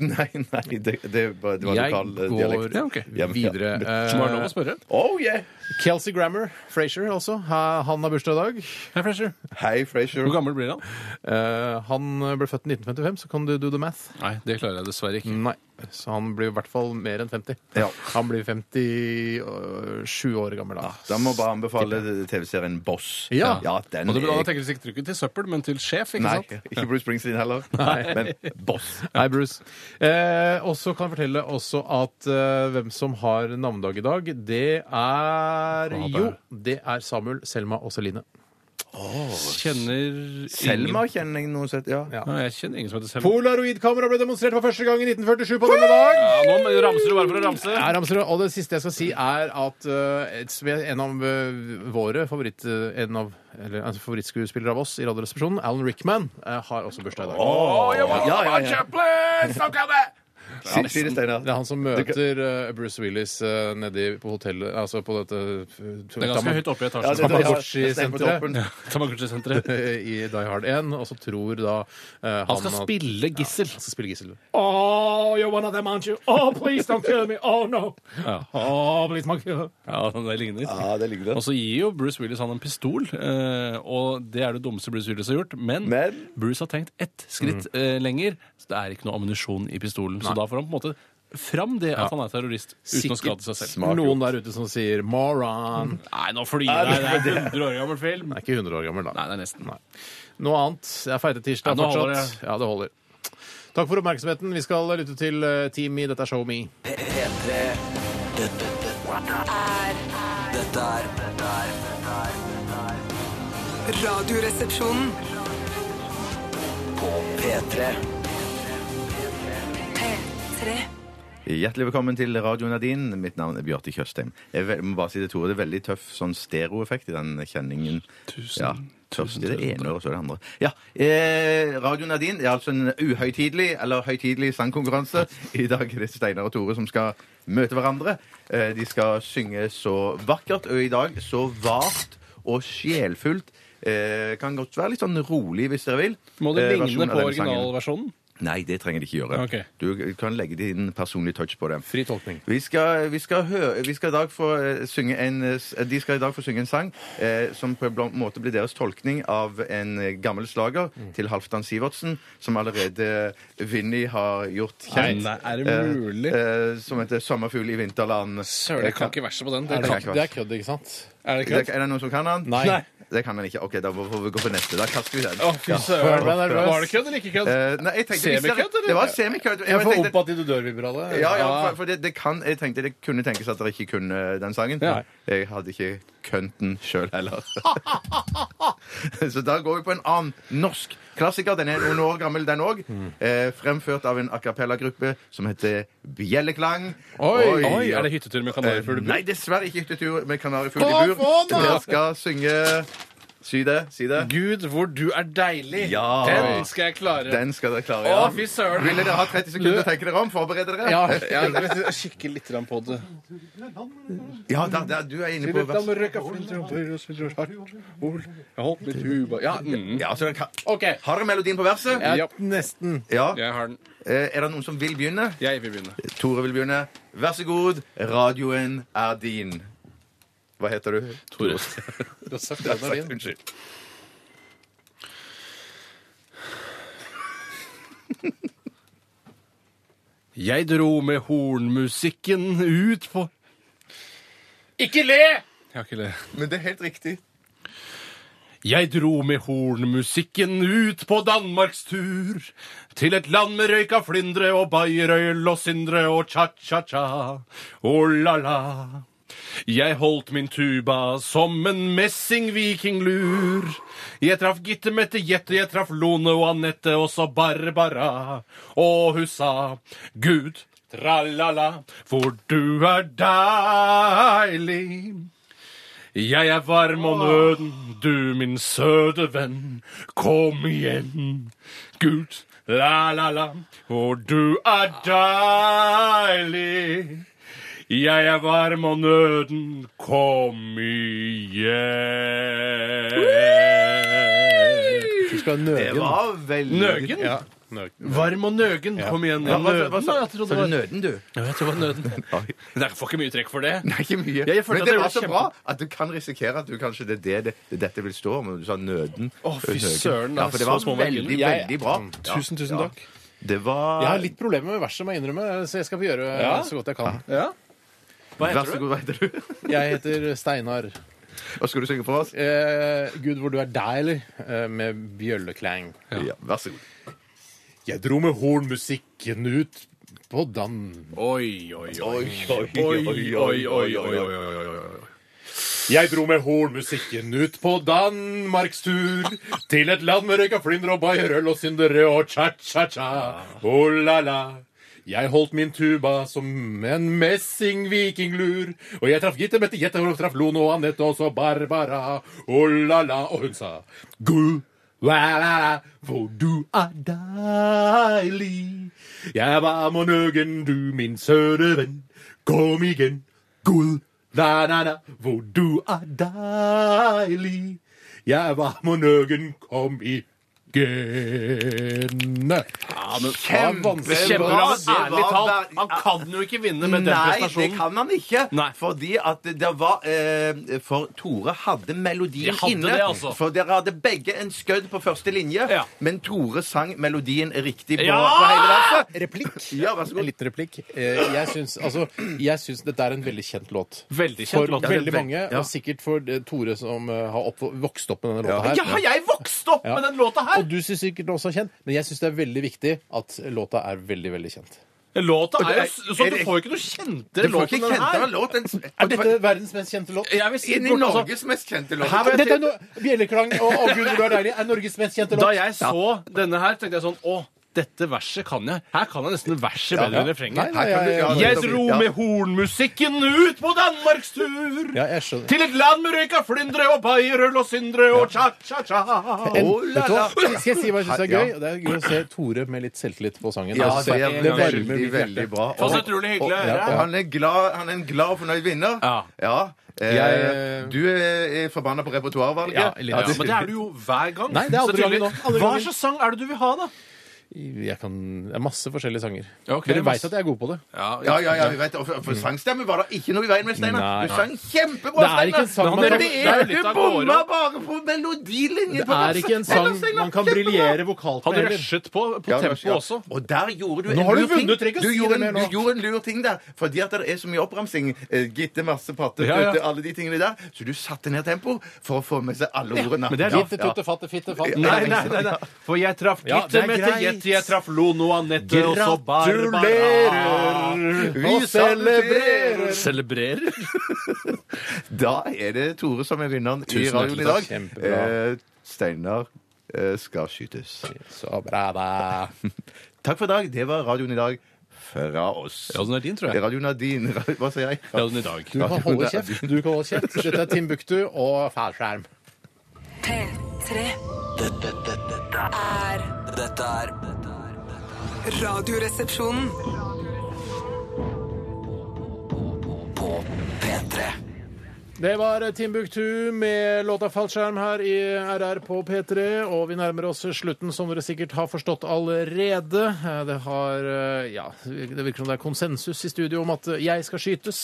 S6: Nei, nei, det, det, var, det var
S4: Jeg
S6: lokal eh,
S4: går
S6: dialekt.
S5: Ja, ok.
S6: Hjem, ja.
S4: videre.
S5: Som er det lov å
S4: Eh,
S5: spørre.
S6: Oh yeah!
S4: Kelsey Grammer, Frazier altså. Ha- Han har bursdag i dag.
S5: Hei, Fresher.
S6: Hei, Frasier.
S5: Hvor gammel blir han?
S4: Eh, han ble født i 1955, så kan du do the math.
S5: Nei, det klarer jeg dessverre ikke.
S4: Nei, så han blir i hvert fall mer enn 50.
S6: Ja.
S4: Han blir 57 år gammel
S5: Ah,
S4: da.
S6: Da må jeg bare anbefale TV-serien Boss.
S4: Ja.
S6: den
S5: Og du, da
S6: er
S5: tenker du sikkert ikke til søppel, men til sjef,
S6: Mm.
S5: ikke
S6: Nei,
S5: sant?
S6: ikke Bruce Springsteen heller. Men Boss.
S4: Hei, Bruce. Eh, og så kan jeg fortelle også at eh, hvem som har navnedag i dag, det er Jo, det er Samuel, Selma og Celine.
S5: Kjenner
S6: Selma
S5: ingen
S6: kjenner jeg noe sett, ja.
S4: Ja.
S5: Nei, jeg kjenner ingen som heter Selma.
S4: Polaroidkamera ble demonstrert for første gang i 1947 på denne dag.
S5: Ja, nå ramser du bare for å ramse.
S4: Ja, Ramsrud, og det siste jeg skal si, er at eh, et sp- en av eh, våre favoritt, eh, en av, eller, altså, favorittskuespillere av oss i Radioresepsjonen, Alan Rickman, eh, har også bursdag i dag.
S6: Ja, ja, ja. Si, si det, Steinar.
S4: Det er han som møter eh, Bruce Willis eh, nedi på hotellet Altså på dette
S5: Det er ganske høyt oppe i
S6: Ja, det- det- ja,
S5: etasjen.
S4: Tamagotchi-senteret.
S6: det er på toppen.
S5: Tamagotchi-senteret.
S4: eh, i Die Hard 1, og så tror da eh,
S5: Han skal
S4: at-
S5: spille gissel.
S4: Han skal spille gissel.
S3: Oh, you're one of them, aren't you? Oh, please don't kill me. Oh, no. Oh, please don't kill me.
S5: Ja, det ligner.
S6: Ja, det ligner.
S5: Og så gir jo Bruce Willis han en pistol, eh, og det er det dummeste Bruce Willis har gjort. Men,
S6: Men-
S5: Bruce har tenkt ett skritt eh, lenger, så det er ikke noe ammunisjon i pistolen. Så da får han på en måte fram det at han er terrorist, uten å skade seg selv. Mm.
S6: Smart
S4: noen der ute som sier 'moron'.
S5: Nei, nå flyr jeg! Det er en 100 år gammel film.
S4: Det er ikke 100 år gammel, da.
S5: Nei, det er nesten.
S4: Noe annet. Det er feite tirsdag
S5: Ja, nå holder
S4: fortsatt. Ja, det holder. Takk for oppmerksomheten. Vi skal lytte til eh, Team Me. Dette er Show Me.
S2: P- P3. Dette, dette er Dette er Dette er
S7: Radioresepsjonen.
S2: På P3.
S7: P3.
S6: Hjertelig velkommen til Radio Nadine. Mitt navn er Bjarte Tjøstheim. Jeg vel- må bare si det, Tore, det er veldig tøff sånn stereoeffekt i den kjenningen. Tusen, ja. Først i det ene og så i det andre. Ja, eh, Radio Nadine er altså en uhøytidelig eller høytidelig sangkonkurranse. I dag er det Steinar og Tore som skal møte hverandre. Eh, de skal synge så vakkert, og i dag så vart og sjelfullt. Eh, kan godt være litt sånn rolig hvis dere vil.
S5: Må det
S6: Eh,
S5: ligne
S6: versjonen av
S5: på
S6: denne sangen.
S5: originalversjonen?
S6: Nei, det trenger de ikke gjøre.
S5: Ok.
S6: Du kan legge din personlige touch på det.
S5: Fri tolkning.
S6: Vi skal, vi skal, hø vi skal i dag få eh, synge en, eh, s- de skal i dag få synge en sang eh, som på en bl- måte blir deres tolkning av en eh, gammel slager
S5: Mm.
S6: til Halvdan Sivertsen, som allerede Vinni har gjort kjent.
S5: Nei, nei, er det mulig?
S6: Eh, eh, som heter 'Sommerfugl i vinterland'.
S5: Søren, jeg kan ikke verset på den. Det
S6: Er det
S5: kan,
S6: ikke
S4: Det er kødd, ikke sant?
S5: er det
S6: Det-
S5: kødd?
S6: Er det noen som kan den?
S4: Nei. Nei.
S6: Det kan den ikke. OK, da får vi gå på neste. Da kaster vi den.
S5: Å, fy
S4: Hør,
S5: søren.
S4: ble jeg nervøs.
S5: Var det kødd eller ikke kødd?
S6: Eh, nei, jeg tenkte, hvis dere-
S5: Semikødd, eller?
S6: Det var semikødd.
S4: Jeg får
S6: tenkte-
S4: opp at de dør-vibrale.
S6: Ja, ja, for, for det, det kan, jeg tenkte det kunne tenkes at dere ikke kunne eh, den sangen.
S5: Ja.
S6: Jeg hadde ikke kønt den sjøl heller. (laughs) Så da går vi på en annen norsk klassiker. Den er noen år gammel, den òg. Eh, fremført av en a cappella-gruppe som heter Bjelleklang.
S5: Oi, er det hyttetur med kanariefugl?
S6: Eh, Nei, dessverre ikke hyttetur med kanarifugl
S4: Hva
S6: i bur.
S4: faen, da?
S6: Dere skal synge Si det, si det.
S5: Gud, hvor du er deilig!
S6: Ja.
S5: Den skal jeg klare.
S6: Den skal dere klare.
S5: Å,
S6: Ja.
S5: fy søren.
S6: Ville dere ha 30 sekunder til å tenke dere om? Forberede dere?
S5: Ja,
S6: Eh.
S5: jeg kikker litt grann på det.
S6: Ja, da, da, du er inne på vers.
S5: Jeg holdt litt huba Ja, mm.
S6: Ja, så dere kan...
S5: OK.
S6: Har dere melodien på verset?
S5: Ja,
S4: Nesten.
S6: Ja.
S5: jeg har den.
S6: Eh, Er det noen som vil begynne?
S5: Jeg vil begynne.
S6: Tore vil begynne. Vær så god, radioen er din. Hva heter du?
S5: Tore.
S6: Sagt, Unnskyld.
S5: Jeg dro med hornmusikken ut på Ikke le! Jeg har ikke le.
S6: Men det er helt riktig.
S5: Jeg dro med hornmusikken ut på Danmarkstur Til et land med røyk av flindre og bayerøl og sindre og cha-cha-cha Oh la la Jeg holdt min tuba som en messingvikinglur Jeg traff Gitte, Mette, Jette, jeg traff Lone og Anette og så Barbara Og hun sa Gud, tralala, for du er deilig jeg er varm om nøden, du min søte venn. Kom igjen, Gud, la, la, la, og du er deilig. Jeg er varm om nøden, kom igjen.
S4: Du skal
S6: Det
S4: nøge.
S6: var veldig
S5: Nøgen?
S4: Ja. nøge.
S5: Varm og nøgen, kom igjen.
S6: Ja, hva, hva,
S5: Nøden,
S6: sa-
S5: ja, jeg trodde
S6: sa du
S5: det var-
S6: nøden,
S5: (laughs)
S6: du?
S5: Ja, jeg tror det var nøden.
S6: Oi.
S5: Dere får ikke mye trekk for det.
S6: Nei, ikke mye.
S5: Jeg følte
S6: Men
S5: at
S6: det
S5: det
S6: var
S5: var
S6: så
S5: kjempe-
S6: bra at du kan risikere at du kanskje det er det, det, det dette vil stå om. Du sa nøden.
S5: Å, fy
S6: Nøgen.
S5: søren, det
S6: Ja,
S5: er
S6: for det
S5: så
S6: var
S5: små
S6: veldig,
S5: verdier.
S6: veldig bra. Ja,
S5: Tusen, tusen
S6: ja.
S5: takk.
S6: Det var
S4: Jeg har litt problemer med verset, må jeg innrømme, så jeg skal få gjøre
S5: Ja.
S4: så godt jeg kan.
S5: Hva
S6: Vær
S5: heter
S6: så
S5: du?
S6: god, hva heter du? (laughs)
S4: Jeg heter Steinar.
S6: Hva skal du synge for oss?
S4: Eh, Gud, hvor du er deilig, eh, med bjølleklang.
S6: Ja, vær så god.
S4: Jeg dro med hornmusikken ut på Dan...
S5: Oi, oi, oi.
S6: Oi, oi,
S5: Oi, oi, oi, oi, oi, oi, oi, oi.
S4: Jeg dro med hornmusikken ut på Danmarkstur til et land med røyk av flyndre og bayerøl og syndere og cha-cha-cha. Oh la la. Jeg holdt min tuba som en messingvikinglur, og jeg traff Gitte Mette Jette, og traff Lone og Anette, og så Barbara. Oh la la. Og hun sa Gu, la la la, for du er deilig. Jeg var med nøgen, du min søte venn. Kom igjen, Gud, na, na, na, hvor du er deilig. Jeg var med nøgen, kom igjen.
S5: Kjempebra.
S6: Det var-
S5: Ærlig talt, han kan jo ikke vinne med
S6: Nei,
S5: den
S6: det
S5: prestasjonen.
S6: kan man ikke.
S5: Nei.
S6: Fordi at det var eh, For Tore hadde melodien
S5: Jeg hadde
S6: inne.
S5: det, altså.
S6: For dere hadde begge en skødd på første linje,
S5: Ja.
S6: men Tore sang melodien riktig på,
S5: Ja!
S6: på hele verset.
S4: Replikk.
S6: Ja, vær så
S4: En
S6: god.
S4: liten replikk. Eh, Jeg syns, altså, jeg syns dette er en veldig kjent låt.
S5: Veldig kjent
S4: For
S5: låt.
S4: veldig
S5: Ja,
S4: mange,
S6: ja.
S4: og sikkert for eh, Tore som eh, har opp, vokst opp med denne låta
S5: Ja,
S4: her.
S5: har jeg vokst opp med den låta
S4: Og
S5: her?
S4: du syns sikkert den også er kjent, men jeg syns det er veldig viktig at låta er veldig, veldig kjent.
S5: Låta
S6: Og
S5: er
S6: det
S5: jo
S6: er-
S5: s- sånn,
S6: er
S5: Du
S6: det-
S5: får jo ikke noe kjentere
S6: Du får
S5: låt
S6: ikke
S5: enn den
S6: kjentere
S5: her.
S6: låt enn
S4: Er dette verdens mest kjente låt?
S5: Jeg vil si
S6: Inn i
S5: bort, altså,
S6: Norges mest kjente låt.
S4: Her var jeg- Dette er no Bjelleklang og Å, gud, hvor du er deilig er Norges mest kjente
S5: Da
S4: låt.
S5: jeg så denne her, tenkte jeg sånn Å, dette verset kan jeg. Her kan jeg nesten verset bedre enn refrenget.
S4: Nei, nei, ja, ja, ja.
S5: Jeg dro med hornmusikken ut på Danmarkstur!
S4: Ja, jeg skjønner.
S5: Til et land med røyk av flyndre og bayerøl og syndre og cha-cha-cha.
S4: Oh, vet du hva? Skal jeg si hva jeg syns er gøy? Det er gøy å se Tore med litt selvtillit på sangen.
S6: Ja,
S4: Altså,
S6: det er
S4: det varmer
S6: veldig,
S4: mitt hjerte.
S6: veldig bra.
S5: Og så
S6: Og,
S5: utrolig hyggelig å
S6: og
S5: høre.
S6: han er glad, han er en glad og fornøyd vinner.
S5: Ja.
S6: Eh,
S4: Jeg-
S6: du er, er forbanna på repertoarvalget.
S5: Ja, ja, men det er du jo hver gang.
S4: Nei, det er
S5: Så
S4: andre gangen
S5: tydelig.
S4: nå. Andre
S5: Hva
S4: gangen.
S5: slags sang er det du vil ha, da?
S4: Jeg kan, det er masse forskjellige sanger.
S5: Ja, ok,
S4: Dere
S5: masse.
S4: veit at jeg er god på det.
S6: Ja, ja, ja, vi vet det. Og For, for sangstemme var det ikke noe i veien med, Steinar.
S4: Nei.
S6: Du sang kjempebra,
S4: Det er ikke en sang
S6: Steinar.
S4: man
S6: Men
S4: kan-
S6: det
S5: det er
S6: er,
S5: litt
S6: du
S5: av gårde.
S6: bomma bare på melodilinjen!
S4: Det er ikke en sang man kan briljere vokalt
S5: Han
S4: med heller.
S5: rushet på på
S6: Ja,
S5: tempo
S6: ja.
S5: også.
S6: Og der gjorde du
S4: Nå har du
S6: lur ting.
S4: vunnet, trenger ikke å
S6: Du
S4: si
S6: gjorde
S4: det mer
S6: en-
S4: nå.
S6: Du gjorde en lur ting der, fordi at det er så mye oppramsing. eh, Gitte, masse patte,
S5: Ja, ja.
S6: tutte, alle de tingene der. Så du satte ned tempo for å få med seg alle ordene.
S5: men det er
S6: Ja,
S5: lov.
S4: Fitte,
S6: ja.
S4: tutte, fatte, fitte, fatte.
S5: Nei, nei, nei, nei. For jeg traff
S4: Ja,
S5: Gitte
S4: det er
S5: Mette
S4: greit.
S5: Jette, jeg traff Lono Anette, og så Barbara.
S4: Gratulerer! Vi
S6: Og
S4: celebrerer!
S5: Celebrerer?
S6: (laughs) Da er det Tore som er vinneren i
S4: Tusen
S6: radioen i
S4: hjertelig
S6: dag.
S4: takk. Kjempebra.
S6: Eh, Steinar eh, skal skytes.
S4: Så bra, da.
S6: Takk for i dag. Det var radioen i dag fra oss.
S5: Ja, den er din, tror jeg.
S6: Radioen er din. (laughs) Ra- Hva sier jeg?
S5: Ja, den i dag.
S4: Du kan holde kjeft. Du kan holde kjeft. Dette er Timbuktu og fallskjerm.
S7: P3
S2: Dette, dette, dette,
S7: er
S2: dette er dette er-
S7: Radioresepsjonen.
S2: På P3
S4: Det var Timbuktu med låta 'Fallskjerm' her i RR på P3, og vi nærmer oss slutten, som dere sikkert har forstått allerede. Eh, Det har eh, Ja, det virker som det er konsensus i studio om at eh, jeg skal skytes,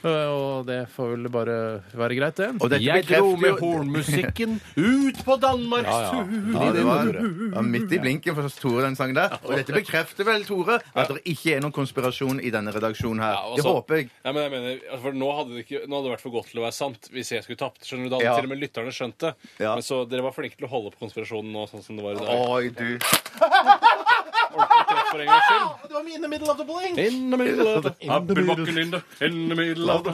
S4: Eh, og det får vel bare være greit, det.
S6: Og dette
S5: Jeg dro
S6: bekrefter
S5: med
S6: jo-
S5: hornmusikken ut på Danmarkstur.
S6: Ja, det var, ja, midt i blinken for Tore, den sangen der. Og dette bekrefter vel, Tore, at det ikke er noen konspirasjon i denne redaksjonen her.
S5: Ja,
S6: Det
S5: altså-
S6: håper jeg.
S5: Nei, men jeg mener, altså, for nå hadde, det ikke, nå hadde det vært for godt til å være sant hvis jeg skulle tapt. Skjønner du, Da hadde
S6: Ja.
S5: til og med lytterne skjønt det.
S6: Ja.
S5: Men så dere var flinke til å holde på konspirasjonen nå, sånn som det var i dag.
S6: Oi, du.
S5: For
S4: (laughs)
S5: en gangs skyld.
S4: Det var mine middle of the bling!
S5: In the middle of the Appelbakken in the, in the middle of the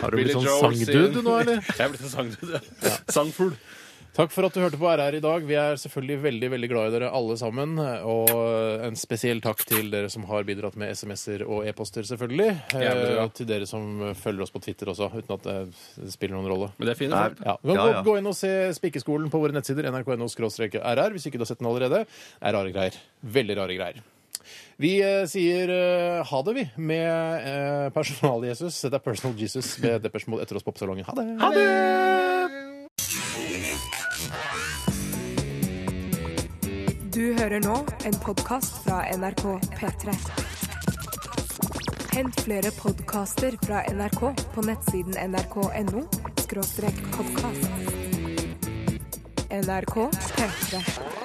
S4: Har du
S5: Billy
S4: blitt sånn
S5: Joel
S4: sangdude
S5: sier-
S4: nå, eller?
S5: (laughs) Jeg er blitt en sangdude. Ja. Sangfugl.
S4: Takk for at du hørte på RR i dag. Vi er selvfølgelig veldig veldig glad i dere alle sammen. Og en spesiell takk til dere som har bidratt med SMS-er og e-poster, selvfølgelig.
S5: Jævlig bra.
S4: Eh, Og til dere som følger oss på Twitter også, uten at det spiller noen rolle.
S5: Men det er fine
S6: Nei.
S5: folk.
S4: Ja, du kan
S6: Ja, ja.
S4: gå- gå inn og se Spikeskolen på våre nettsider, nrk.no-rr, hvis ikke du har sett den allerede. Det er rare greier. Veldig rare greier. Vi eh, sier eh, ha det, vi, med eh, Personal-Jesus. Dette er Personal Jesus med Depeche Mode etter oss på Oppsalongen. Ha det! Ha det!
S1: Du hører nå en podkast fra NRK P3. Hent flere podkaster fra NRK på nettsiden nrk.no podkast. NRK P3.